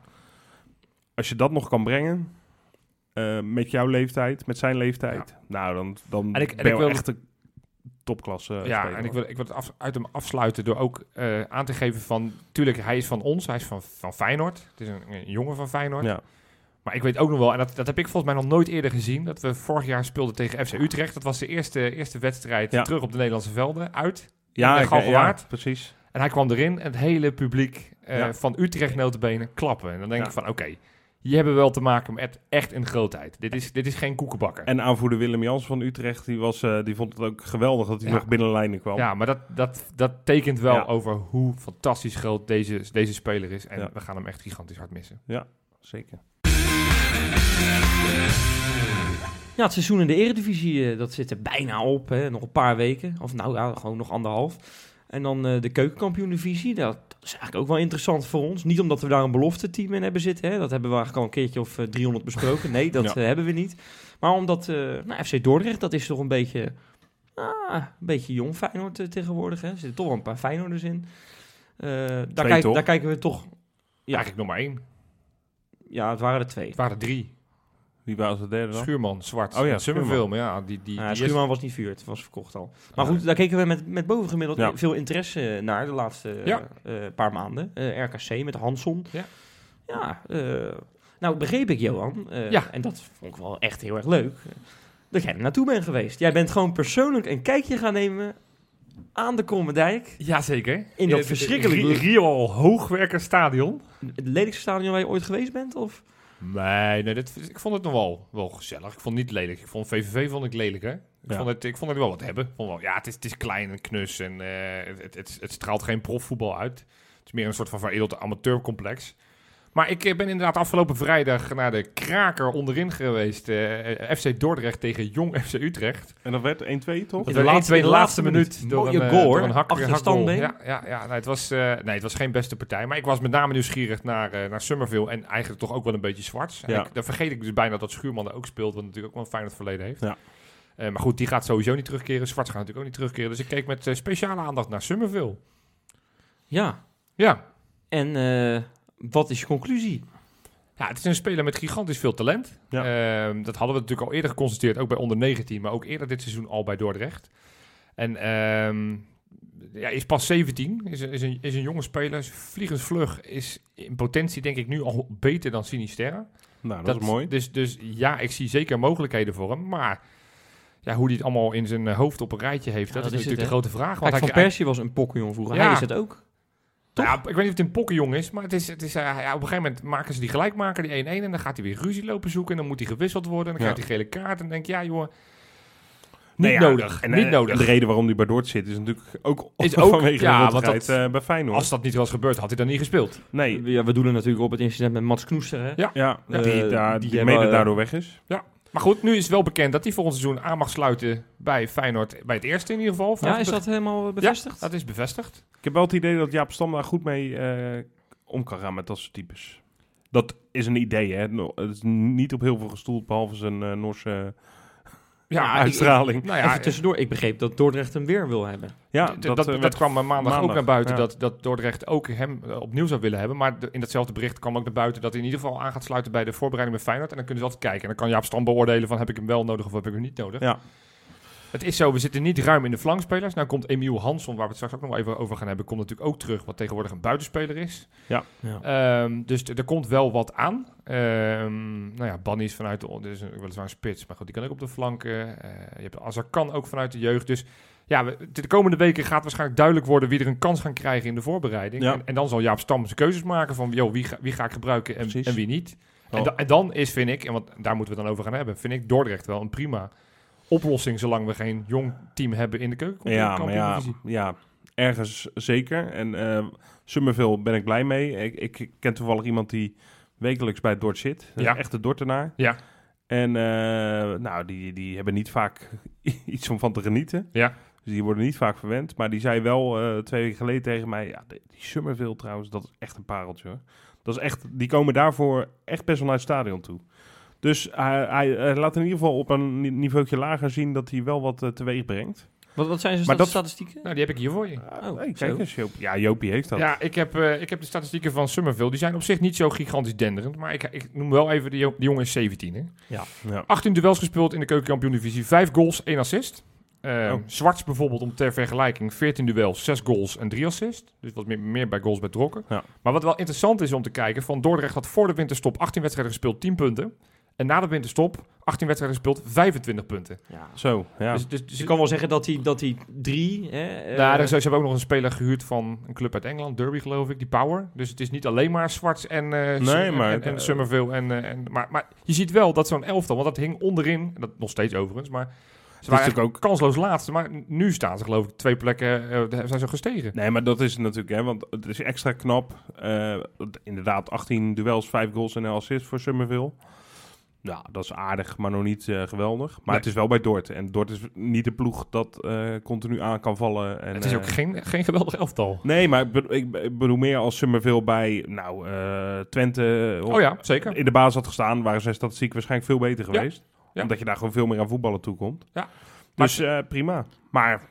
S1: Als je dat nog kan brengen. eh, met jouw leeftijd, met zijn leeftijd. Nou, dan, dan
S3: En ik- en
S1: ben
S3: ik
S1: je wel
S3: wil-
S1: echt een topklasse.
S3: Ja,
S1: speler.
S3: en ik wil, ik wil het af, uit hem afsluiten door ook eh, aan te geven van... Tuurlijk, hij is van ons, hij is van, van Feyenoord. Het is een, een jongen van Feyenoord.
S1: Ja.
S3: Maar ik weet ook nog wel, en dat, dat heb ik volgens mij nog nooit eerder gezien... dat we vorig jaar speelden tegen FC Utrecht. Dat was de eerste, eerste wedstrijd
S1: Ja,
S3: terug op de Nederlandse velden, uit.
S1: ja,
S3: ben
S1: ik-
S3: gewoon
S1: ja,
S3: gewaard.
S1: precies.
S3: En hij kwam erin en het hele publiek eh,
S1: Ja.
S3: van Utrecht notabene klappen. En dan denk
S1: Ja.
S3: ik van, oké, hier hebben we wel te maken met echt een grootheid. Dit is, dit is geen koekenbakker.
S1: En aanvoerder Willem Jans van Utrecht, die, was, eh, die vond het ook geweldig dat hij
S3: Ja.
S1: nog binnen lijnen kwam.
S3: Ja, maar dat, dat, dat tekent wel
S1: Ja.
S3: over hoe fantastisch groot deze, deze speler is. En
S1: Ja.
S3: we gaan hem echt gigantisch hard missen.
S1: Zeker.
S2: Ja, het seizoen in de Eredivisie, eh, dat zit er bijna op. Hè. Nog een paar weken. Of nou ja, gewoon nog anderhalf. En dan eh, de keukenkampioen-divisie. Dat is eigenlijk ook wel interessant voor ons. Niet omdat we daar een belofte team in hebben zitten. Hè. Dat hebben we eigenlijk al een keertje of eh, 300 besproken. Nee, dat
S1: <laughs> Ja.
S2: eh, hebben we niet. Maar omdat eh, nou, FC Dordrecht, dat is toch een beetje... ah, een beetje jong Feyenoord eh, tegenwoordig. Hè. Er zitten toch wel een paar Feyenoorders in. Eh, daar, kijken
S1: toch?
S2: daar kijken we toch... Ja.
S3: Eigenlijk nog maar één.
S2: Ja, het waren er twee.
S3: Het waren drie.
S1: Wie was de derde dan?
S3: Schuurman, Zwart
S1: Oh ja,
S3: en Summerville. Maar ja, die, die,
S2: Nou Ja,
S3: die
S2: Schuurman was niet vuurd, was verkocht al. Maar
S3: Ah,
S2: goed, daar keken we met, met bovengemiddeld
S1: Ja.
S2: veel interesse naar de laatste
S3: Ja.
S2: eh, paar maanden. Eh, RKC met Hanson.
S3: Ja.
S2: Ja, eh, nou begreep ik Johan, eh,
S3: Ja.
S2: en dat vond ik wel echt heel erg leuk, eh, dat jij er naartoe bent geweest. Jij bent gewoon persoonlijk een kijkje gaan nemen aan de Kromme Dijk.
S3: is... Jazeker.
S2: In dat verschrikkelijk-
S3: Rio Hoogwerkerstadion.
S2: Het lelijkste stadion waar je ooit geweest bent? Of?
S3: Nee, nee dit, ik vond het nog wel, wel gezellig. Ik vond het niet lelijk. Ik vond VVV vond ik lelijk, hè. Ik,
S1: Ja.
S3: vond het, ik vond het wel wat hebben. Ik Vond wel, ja, het is, het is klein en knus en eh, het, het, het straalt geen profvoetbal uit. Het is meer een soort van veredeld amateurcomplex. Maar ik eh, ben inderdaad afgelopen vrijdag naar de kraker onderin geweest. eh, eh, FC Dordrecht tegen Jong FC Utrecht.
S1: En dat werd 1-2, toch?
S2: Ja.
S3: de laatste,
S2: tweede
S3: laatste
S2: minuut.
S3: minuut. door
S2: Mooie
S3: een, eh,
S2: goal,
S3: door
S2: hoor.
S3: een hak-
S2: Achter de
S3: hakgoal.
S2: standbeen.
S3: Ja, ja, ja nou, het was, eh, nee, het was geen beste partij. Maar ik was met name nieuwsgierig naar, eh, naar Summerville. En eigenlijk toch ook wel een beetje zwarts. En
S1: Ja.
S3: ik- dan vergeet ik dus bijna dat Schuurman daar ook speelt. Wat natuurlijk ook wel een Feyenoord verleden heeft.
S1: Ja.
S3: Eh, maar goed, die gaat sowieso niet terugkeren. Zwarts gaat natuurlijk ook niet terugkeren. Dus ik keek met eh, speciale aandacht naar Summerville.
S2: Ja.
S3: Ja,
S2: En eh, wat is je conclusie?
S3: Ja, het is een speler met gigantisch veel talent.
S1: Ja.
S3: Ehm, dat hadden we natuurlijk al eerder geconstateerd, ook bij onder 19, maar ook eerder dit seizoen al bij Dordrecht. En ehm ja, is pas 17, is, een- is, een, is een jonge speler, is vliegensvlug, is in potentie denk ik nu al beter dan Sinisterra.
S1: Nou, dat, is mooi.
S3: Dus, dus ja, ik zie zeker mogelijkheden voor hem, maar ja, hoe hij het allemaal in zijn eh, hoofd op een rijtje heeft,
S2: Ja,
S3: dat,
S2: dat
S3: is
S2: is het,
S3: natuurlijk de grote vraag.
S2: Kijk, Van
S3: hij- hij-
S2: Persie was een pokkenjong vroeger.
S3: Ja.
S2: Hij is het ook.
S3: nou Ja, ik weet niet of het een pokkenjong is, maar het is, het is, eh, ja, op een gegeven moment maken ze die gelijkmaker, die 1-1. En dan gaat hij weer ruzie lopen zoeken en dan moet hij gewisseld worden. En dan
S1: Ja.
S3: krijgt hij gele kaart en dan denk je, ja jongen, niet
S1: Nee, ja,
S3: nodig,
S1: en,
S3: niet
S1: eh,
S3: nodig.
S1: De reden waarom die bij Dort zit is natuurlijk ook, <laughs>
S3: Is ook-
S1: vanwege
S3: ja,
S1: de
S3: want
S1: rottigheid
S3: dat-
S1: eh, bij Feyenoord.
S3: Als dat niet was gebeurd, had hij dan niet gespeeld.
S1: Nee,
S2: Ja, we doelen natuurlijk op het incident met Mats Knoester. Hè?
S1: ja,
S2: Ja.
S1: die,
S2: Eh,
S1: daar,
S2: die
S1: die,
S2: hebben,
S1: mede
S2: eh,
S1: daardoor weg is.
S3: Maar goed, nu is wel bekend dat hij volgend seizoen aan mag sluiten bij Feyenoord. Bij het eerste in ieder geval.
S2: Ja, is dat helemaal eh, bevestigd?
S3: Dat is bevestigd.
S1: Ik heb wel het idee dat Jaap Stam daar goed mee eh, om kan gaan met dat soort types. Dat is een idee, hè. No- Het is niet op heel veel gestoeld, behalve zijn eh, Noorse
S3: Ja, ik-
S1: uitstraling.
S3: nou ja,
S2: Even tussendoor, ik begreep dat Dordrecht hem weer wil hebben.
S1: ja,
S3: d- d- dat, dat,
S1: eh, werd-
S3: kwam maandag, ook
S1: maandag,
S3: naar buiten,
S1: ja.
S3: dat, dat Dordrecht ook hem eh, opnieuw zou willen hebben. Maar de- in datzelfde bericht kwam ook naar buiten dat hij in ieder geval aan gaat sluiten bij de voorbereiding met Feyenoord. En dan kunnen ze altijd kijken. En dan kan Jaap Stam beoordelen van heb ik hem wel nodig of heb ik hem niet nodig.
S1: Ja.
S3: Het is zo, we zitten niet ruim in de flankspelers. Nou komt Emiel Hansson, waar we het straks ook nog wel even over gaan hebben, komt natuurlijk ook terug, wat tegenwoordig een buitenspeler is.
S2: Ja.
S3: Ehm, dus t- er komt wel wat aan. Ehm, nou ja, Banny is vanuit de... on- Dit is een, weliswaar een spits, maar goed, die kan ook op de flanken. Eh, je hebt Azarkan ook vanuit de jeugd. Dus ja, we- de komende weken gaat waarschijnlijk duidelijk worden... wie er een kans gaan krijgen in de voorbereiding.
S1: Ja.
S3: En, en dan zal Jaap Stam zijn keuzes maken van... Yo, wie, ga, wie ga ik gebruiken en,
S1: Precies. Oh.
S3: en wie niet. En,
S1: Ja.
S3: da- en dan is, vind ik, en want daar moeten we het dan over gaan hebben... vind ik Dordrecht wel een prima oplossing... zolang we geen jong team hebben in de keuken.
S1: Ja, maar ja, ja, ergens zeker. En eh Summerville ben ik blij mee. Ik, ik ken toevallig iemand die wekelijks bij Dort zit. Een
S3: Ja.
S1: echte Dortenaar.
S3: Ja.
S1: En eh, nou, die, die hebben niet vaak <laughs> iets om van te genieten.
S3: Ja.
S1: Dus die worden niet vaak verwend. Maar die zei wel eh, twee weken geleden tegen mij... Ja, die die Summerville trouwens, dat is echt een pareltje hoor. Dat is echt, die komen daarvoor echt best wel naar het stadion toe. Dus hij, hij, eh, laat in ieder geval op een ni- niveautje lager zien dat hij wel wat eh, teweeg brengt.
S2: Wat, wat zijn zijn
S1: Maar dat-
S2: statistieken?
S3: Nou, die heb ik hier voor je.
S1: Ah,
S2: Oh,
S1: hey,
S2: zo.
S1: kijk eens, Joopie. Ja, Jopie heeft dat.
S3: Ja, ik heb, eh, ik heb de statistieken van Summerville. Die zijn op zich niet zo gigantisch denderend. Maar ik, ik noem wel even, die, jo- die jongen is 17. Hè?
S1: Ja.
S3: 18 duels gespeeld in de keukenkampioen-divisie. 5 goals, 1 assist. Ehm
S1: Oh.
S3: Zwarts bijvoorbeeld, om ter vergelijking, 14 duels, 6 goals en 3 assist. Dus wat meer, meer bij goals bij Drokken.
S1: Ja.
S3: Maar wat wel interessant is om te kijken, van Dordrecht had voor de winterstop 18 wedstrijden gespeeld, 10 punten. En na de winterstop 18 wedstrijden gespeeld, 25 punten.
S2: Ja.
S1: Zo, ja.
S3: Dus, dus, dus
S2: Dus ik kan wel zeggen dat hij dat hij drie. Hè, eh,
S3: Nou, er is- ze hebben ook nog een speler gehuurd van een club uit Engeland, Derby geloof ik, die Power. Dus het is niet alleen maar Zwarts en, eh, Su-
S1: Nee, maar-
S3: en, en Summerville. En, eh, en, maar, maar je ziet wel dat zo'n elftal, want dat hing onderin, en dat nog steeds overigens, maar ze waren
S1: natuurlijk
S3: ook kansloos laatste. Maar nu staan ze geloof ik twee plekken, eh, daar zijn ze gestegen.
S1: Nee, maar dat is het natuurlijk, hè, want het is extra knap. Eh, want inderdaad, 18 duels, 5 goals en een assist voor Summerville. Nou, dat is aardig, maar nog niet eh, geweldig. Maar
S3: Nee.
S1: het is wel bij Dort. En Dort is niet de ploeg dat eh, continu aan kan vallen. En,
S3: het is ook
S1: eh,
S3: geen, geen geweldig elftal.
S1: Nee, maar ik bedo- ik be- ik bedoel meer als Summerville bij, nou, eh, Twente...
S3: Oh ja, zeker.
S1: In de baas had gestaan, waren zijn statistiek waarschijnlijk veel beter
S3: Ja.
S1: geweest.
S3: Ja.
S1: Omdat je daar gewoon veel meer aan voetballen toekomt.
S3: Ja.
S1: Dus eh, prima. Maar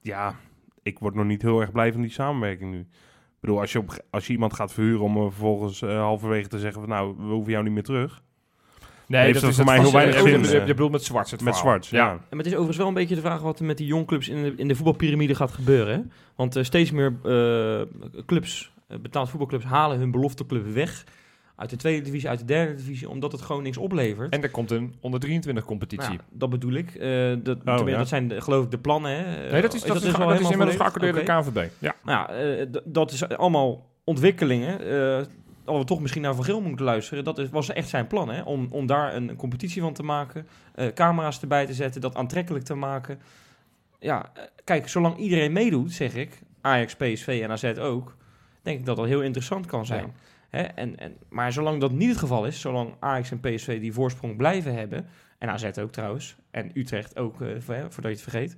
S1: ja, ik word nog niet heel erg blij van die samenwerking nu. Ik bedoel, als je, op, als je iemand gaat verhuren om eh, vervolgens eh, halverwege te zeggen van nou, we hoeven jou niet meer terug.
S3: Nee,
S1: heeft er voor mij heel
S3: vast-
S1: weinig
S3: eh,
S1: zin,
S3: Je,
S1: eh.
S3: je bedoelt met Zwarts het
S1: Met
S3: verhaal.
S1: zwart. Ja. ja.
S2: Maar het is overigens wel een beetje de vraag wat er met die jongclubs in de, in de voetbalpyramide gaat gebeuren. Hè? Want eh, steeds meer eh, clubs, eh, betaald voetbalclubs, halen hun belofteclub weg. Uit de tweede divisie, uit de derde divisie, omdat het gewoon niks oplevert.
S3: En er komt een onder 23 competitie.
S2: Nou, dat bedoel ik. Eh, dat,
S1: Oh,
S2: tenminste,
S1: ja.
S2: dat zijn de- geloof ik de plannen. Hè?
S3: Nee, dat is,
S2: Eh,
S3: dat is,
S2: dus
S3: ge-
S2: wel
S3: dat is
S2: helemaal
S3: inmiddels
S2: volledig?
S3: geaccordeerd
S2: Oké.
S3: door de KNVB. Ja.
S2: Nou, eh, d- dat is allemaal ontwikkelingen. eh al we toch misschien naar Van Geel moeten luisteren. Dat is, was echt zijn plan, hè? Om, om daar een competitie van te maken. eh, camera's erbij te zetten, dat aantrekkelijk te maken. Ja, eh, kijk, zolang iedereen meedoet, zeg ik, Ajax, PSV en AZ ook... denk ik dat dat heel interessant kan zijn. Hè, en, en, maar zolang dat niet het geval is, zolang Ajax en PSV die voorsprong blijven hebben, en AZ ook trouwens, en Utrecht ook, eh, voor- hè, voordat je het vergeet,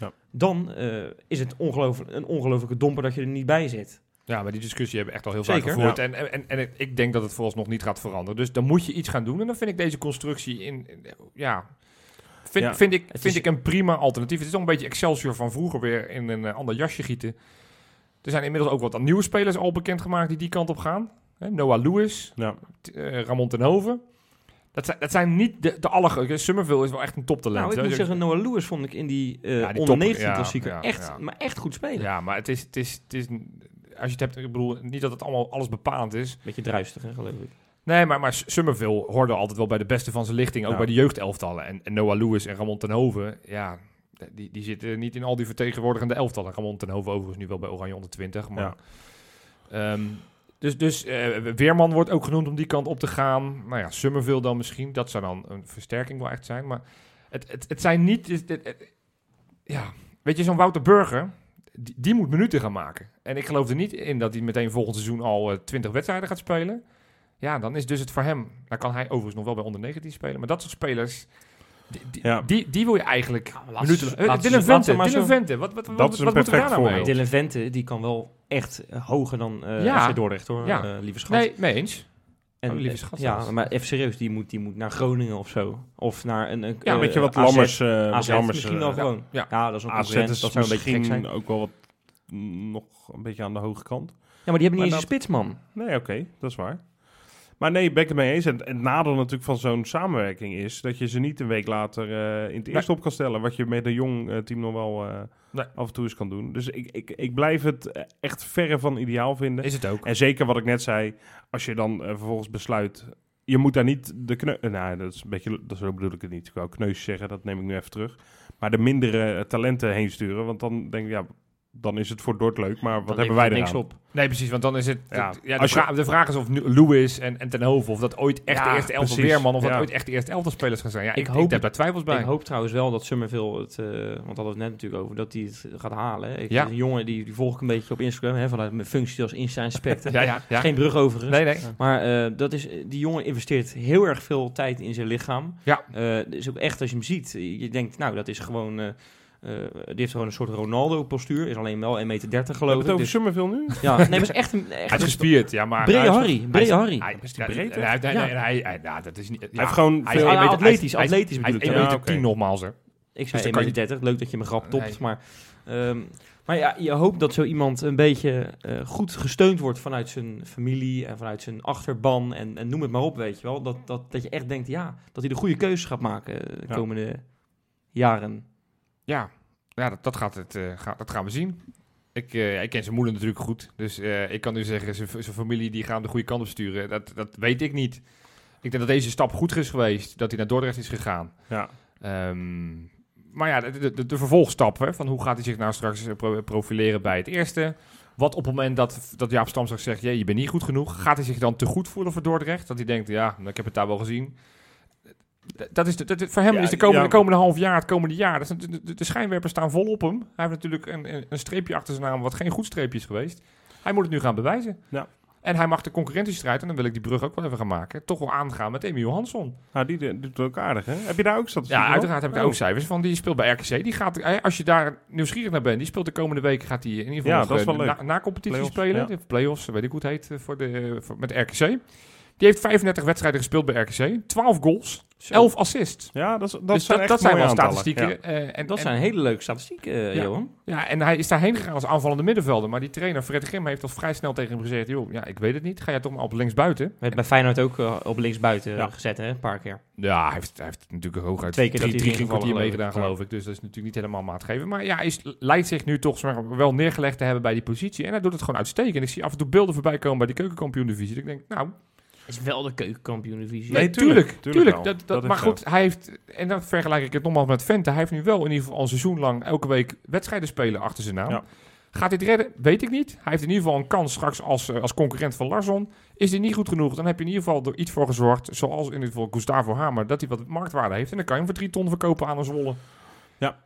S1: Ja.
S2: dan eh, is het ongeloof- een ongelofelijke domper dat je er niet bij zit.
S3: Ja, maar die discussie hebben we echt al heel vaak
S2: Zeker.
S3: gevoerd. En, en, en, en ik denk dat het vooralsnog niet gaat veranderen. Dus dan moet je iets gaan doen. En dan vind ik deze constructie in... in- ja, vind,
S1: Ja,
S3: vind, ik,
S2: is-
S3: vind ik een prima alternatief. Het is toch een beetje Excelsior van vroeger weer in een eh, ander jasje gieten. Er zijn inmiddels ook wat nieuwe spelers al bekendgemaakt die die kant op gaan. Hè, Noah Lewis,
S1: Ja.
S3: t- eh, Ramon Tenhoven. Dat zijn, dat zijn niet de, de allergrootste. Summerville is wel echt een toptalent.
S2: Nou, ik
S3: hè.
S2: moet
S3: Dus-
S2: zeggen, Noah Lewis vond ik in die, eh
S3: Ja, die
S2: onder
S3: topper,
S2: 19
S3: ja,
S2: klassieker
S3: ja,
S2: echt,
S3: ja.
S2: maar echt goed spelen.
S3: Ja, maar het is, het, is, het is... Als je het hebt... Ik bedoel, niet dat het allemaal alles bepalend is.
S2: Beetje druistig, hè, geloof ik.
S3: Nee, maar, maar Summerville hoorde altijd wel bij de beste van zijn lichting. Ook
S1: Ja.
S3: bij de jeugdelftallen. En, en Noah Lewis en Ramon Tenhoven, ja, die, die zitten niet in al die vertegenwoordigende elftallen. Ramon Tenhoven overigens nu wel bij Oranje onder 20. Maar, Ehm, dus dus eh, Weerman wordt ook genoemd om die kant op te gaan. Nou ja, Summerville dan misschien. Dat zou dan een versterking wel echt zijn. Maar het, het, het zijn niet... het- het- het- ja, weet je, zo'n Wouter Burger... Die, die moet minuten gaan maken. En ik geloof er niet in dat hij meteen volgend seizoen al eh, twintig wedstrijden gaat spelen. Ja, dan is dus het voor hem. Dan kan hij overigens nog wel bij onder 19 spelen. Maar dat soort spelers. Die, die,
S1: Ja.
S3: die, die wil je eigenlijk.
S2: Ja, maar laat
S3: minuten,
S2: ze-
S3: eh,
S2: laat ze-
S3: Dylan
S2: laat ze
S3: Vente.
S2: maar
S3: Dylan
S2: zo- Ah,
S3: Vente. Wat, wat, wat,
S1: Dat is een
S3: wat moeten we daar
S1: perfect
S3: nou mee?
S1: voorbeeld.
S2: Dylan Vente, die kan wel echt eh, hoger dan eh
S3: Ja.
S2: FC Dordrecht, hoor,
S3: Ja.
S2: eh, lieve schat.
S3: Nee, mee eens.
S2: En,
S3: Oh, lieve
S2: eh,
S3: schat
S2: Ja,
S3: zelfs.
S2: maar even serieus, die moet, die moet naar Groningen of zo. Of naar een... een
S3: Ja,
S2: eh,
S1: weet je wat
S2: AZ,
S1: Lammers... eh, wat
S2: AZ
S1: Lammers,
S2: misschien
S1: eh,
S2: wel
S3: ja,
S2: gewoon.
S3: ja.
S2: Ja, dat is een
S1: AZ
S2: concurrent.
S1: is
S2: Dat zou een beetje gek zijn.
S1: misschien ook wel wat, mm, nog een beetje aan de hoge kant.
S2: Ja, maar die hebben niet
S1: Maar
S2: eens een spitsman.
S1: Nee, oké, dat is waar. Maar nee, ben ik het mee eens. En het nadeel natuurlijk van zo'n samenwerking is dat je ze niet een week later eh, in het eerst op kan stellen. Wat je met een jong eh, team nog wel eh,
S3: Nee.
S1: af en toe eens kan doen. Dus ik, ik, ik blijf het eh, echt verre van ideaal vinden.
S3: Is het ook.
S1: En zeker wat ik net zei, als je dan eh, vervolgens besluit, je moet daar niet de kneu... eh, nou, dat is een beetje, dat, zo bedoel ik het niet. Ik wou kneus zeggen, dat neem ik nu even terug. Maar de mindere eh, talenten heen sturen, want dan denk ik, ja, dan is het voor Dort leuk, maar wat hebben
S2: Dan levert
S1: wij
S2: het
S1: er
S2: niks
S1: aan?
S2: op.
S3: Nee, precies. Want dan is het.
S1: Ja,
S3: het- ja, de,
S1: als je-
S3: vra- de vraag is of nu Lewis en, en Ten Hove. Of dat ooit echt
S1: Ja,
S3: de eerste elftal
S1: precies.
S3: Weerman. Of dat
S1: Ja.
S3: ooit echt de eerste elftal spelers gaan zijn. Ja, ik,
S2: Ik
S3: ik,
S2: hoop
S3: heb
S2: het.
S3: daar twijfels bij.
S2: Ik hoop trouwens wel dat Summerville het, eh, want daar hadden we het net natuurlijk over, dat hij het gaat halen. hè. Ik,
S3: Ja.
S2: Een jongen die, die volg ik een beetje op Instagram, hè, vanuit mijn functie als Insta Inspector.
S3: <laughs> Ja, ja, ja.
S2: Geen brug overigens.
S3: Nee, nee.
S2: Maar eh, dat is, die jongen investeert heel erg veel tijd in zijn lichaam.
S3: Ja.
S2: Eh, dus ook echt als je hem ziet, je denkt, nou, dat is gewoon... eh, eh, die heeft gewoon een soort Ronaldo-postuur. Is alleen wel 1,30 meter
S1: Hebben
S2: geloof
S1: we het
S2: ik.
S1: over
S2: Dus,
S1: Summerville nu?
S2: ja, nee, maar is echt
S3: <laughs>
S2: een... Echt
S3: Hij is
S2: een
S3: gespierd, ja, maar...
S2: brede
S3: hij is-
S2: Harry,
S3: hij
S2: brede
S3: is-
S2: Harry.
S3: Hij is
S1: die breed,
S3: breed, hij, hij,
S2: Ja.
S3: hij, hij, hij- nou, dat is niet... Ja,
S1: Hij heeft gewoon
S3: hij is
S1: veel...
S2: Ah,
S3: één meter-
S2: atletisch,
S3: hij is-
S2: atletisch
S3: hij is
S2: bedoel ik.
S3: 1
S2: ja.
S3: meter
S1: oké.
S3: 10 nogmaals, hè.
S2: Ik
S3: Dus
S2: zei
S3: dan
S2: 1,30
S3: kan je-
S2: meter, leuk dat je me grap topt,
S3: Nee.
S2: maar... ehm, maar ja, je hoopt dat zo iemand een beetje eh, goed gesteund wordt vanuit zijn familie en vanuit zijn achterban en, en noem het maar op, weet je wel. Dat, dat, dat je echt denkt, ja, dat hij de goede keuzes gaat maken eh, de
S1: Ja.
S2: komende jaren.
S3: Ja, ja dat, dat, gaat het, eh, ga- dat gaan we zien. Ik, eh, ja, ik ken zijn moeder natuurlijk goed. Dus eh, ik kan nu zeggen, zijn, zijn familie die gaan de goede kant op sturen. Dat, dat weet ik niet. Ik denk dat deze stap goed is geweest. Dat hij naar Dordrecht is gegaan.
S1: Ja.
S3: Ehm, maar ja, de, de- de, de vervolgstap. Hè, van hoe gaat hij zich nou straks eh, pro- profileren bij het eerste? Wat op het moment dat, dat Jaap Stam straks zegt... Jee, je bent niet goed genoeg. Gaat hij zich dan te goed voelen voor Dordrecht? Dat hij denkt, ja, ik heb het daar wel gezien. D- Dat is de, dat, voor hem
S1: Ja,
S3: is de komende,
S1: ja.
S3: de komende half jaar, het komende jaar... Dat is, de, de- de schijnwerpers staan vol op hem. Hij heeft natuurlijk een, een, een streepje achter zijn naam... wat geen goed streepje is geweest. Hij moet het nu gaan bewijzen.
S1: Ja.
S3: En hij mag de concurrentiestrijd... en dan wil ik die brug ook wel even gaan maken... toch wel aangaan met Emiel Hansson.
S1: Nou, die de- doet het ook aardig, hè? Heb je daar ook statistieken
S3: Ja,
S1: van?
S3: uiteraard heb ik daar
S1: Oh.
S3: ook cijfers van. Die speelt bij RKC. Die gaat, eh, als je daar nieuwsgierig naar bent, die speelt de komende week gaat hij in ieder geval
S1: Ja,
S3: nog,
S1: dat is
S3: eh,
S1: wel leuk.
S3: na, na competitie
S1: Playoffs,
S3: spelen.
S1: ja.
S3: De Playoffs, weet ik hoe het heet, eh, voor de, eh, voor- met RKC. Die heeft 35 wedstrijden gespeeld bij RKC. 12 goals,
S2: Zo.
S3: 11 assists.
S1: Ja, dat, is- dat
S3: Dat, dus
S1: zijn
S3: dat,
S1: echt
S3: dat zijn wel
S1: mooie aantallen.
S3: statistieken.
S1: Ja.
S3: eh, en,
S2: Dat
S3: en-
S2: zijn hele leuke statistieken, eh,
S3: Ja.
S2: Johan.
S3: ja, en hij is daarheen gegaan als aanvallende middenvelder. Maar die trainer Fred Grim heeft al vrij snel tegen hem gezegd... joh, ja, ik weet het niet. Ga jij toch maar op linksbuiten?
S2: Werd bij Feyenoord ook eh, op linksbuiten
S1: Ja.
S2: gezet, hè, een paar keer.
S3: Ja, hij heeft, hij heeft natuurlijk hooguit
S2: Twee keer
S3: drie,
S2: dat
S3: drie
S2: hij
S3: keer een
S2: ingevallen, geloof
S3: kwartier
S2: ik.
S3: meegedaan, geloof ik. Dus dat is natuurlijk niet helemaal maatgeven. Maar ja, hij is, lijkt zich nu toch zeg maar, wel neergelegd te hebben bij die positie. En hij doet het gewoon uitstekend. Ik zie af en toe beelden voorbij komen bij die keukenkampioen-divisie. Dat Ik denk, nou,
S2: Is wel de keukenkampioen-divisie.
S1: Nee,
S3: nee,
S1: tuurlijk,
S3: tuurlijk.
S1: tuurlijk
S3: tuurlijk.
S1: wel.
S3: dat, dat,
S1: Dat is
S3: maar
S1: zo.
S3: goed, hij heeft, en dan vergelijk ik het nogmaals met Vente. Hij heeft nu wel in ieder geval al een seizoen lang elke week wedstrijden spelen achter zijn naam.
S1: Ja.
S3: Gaat dit redden? Weet ik niet. Hij heeft in ieder geval een kans straks als, eh, als concurrent van Larsson. Is dit niet goed genoeg, dan heb je in ieder geval er iets voor gezorgd. Zoals in ieder geval Gustavo Hamer, dat hij wat marktwaarde heeft. En dan kan je hem voor drie ton verkopen aan een Zwolle.
S1: Ja.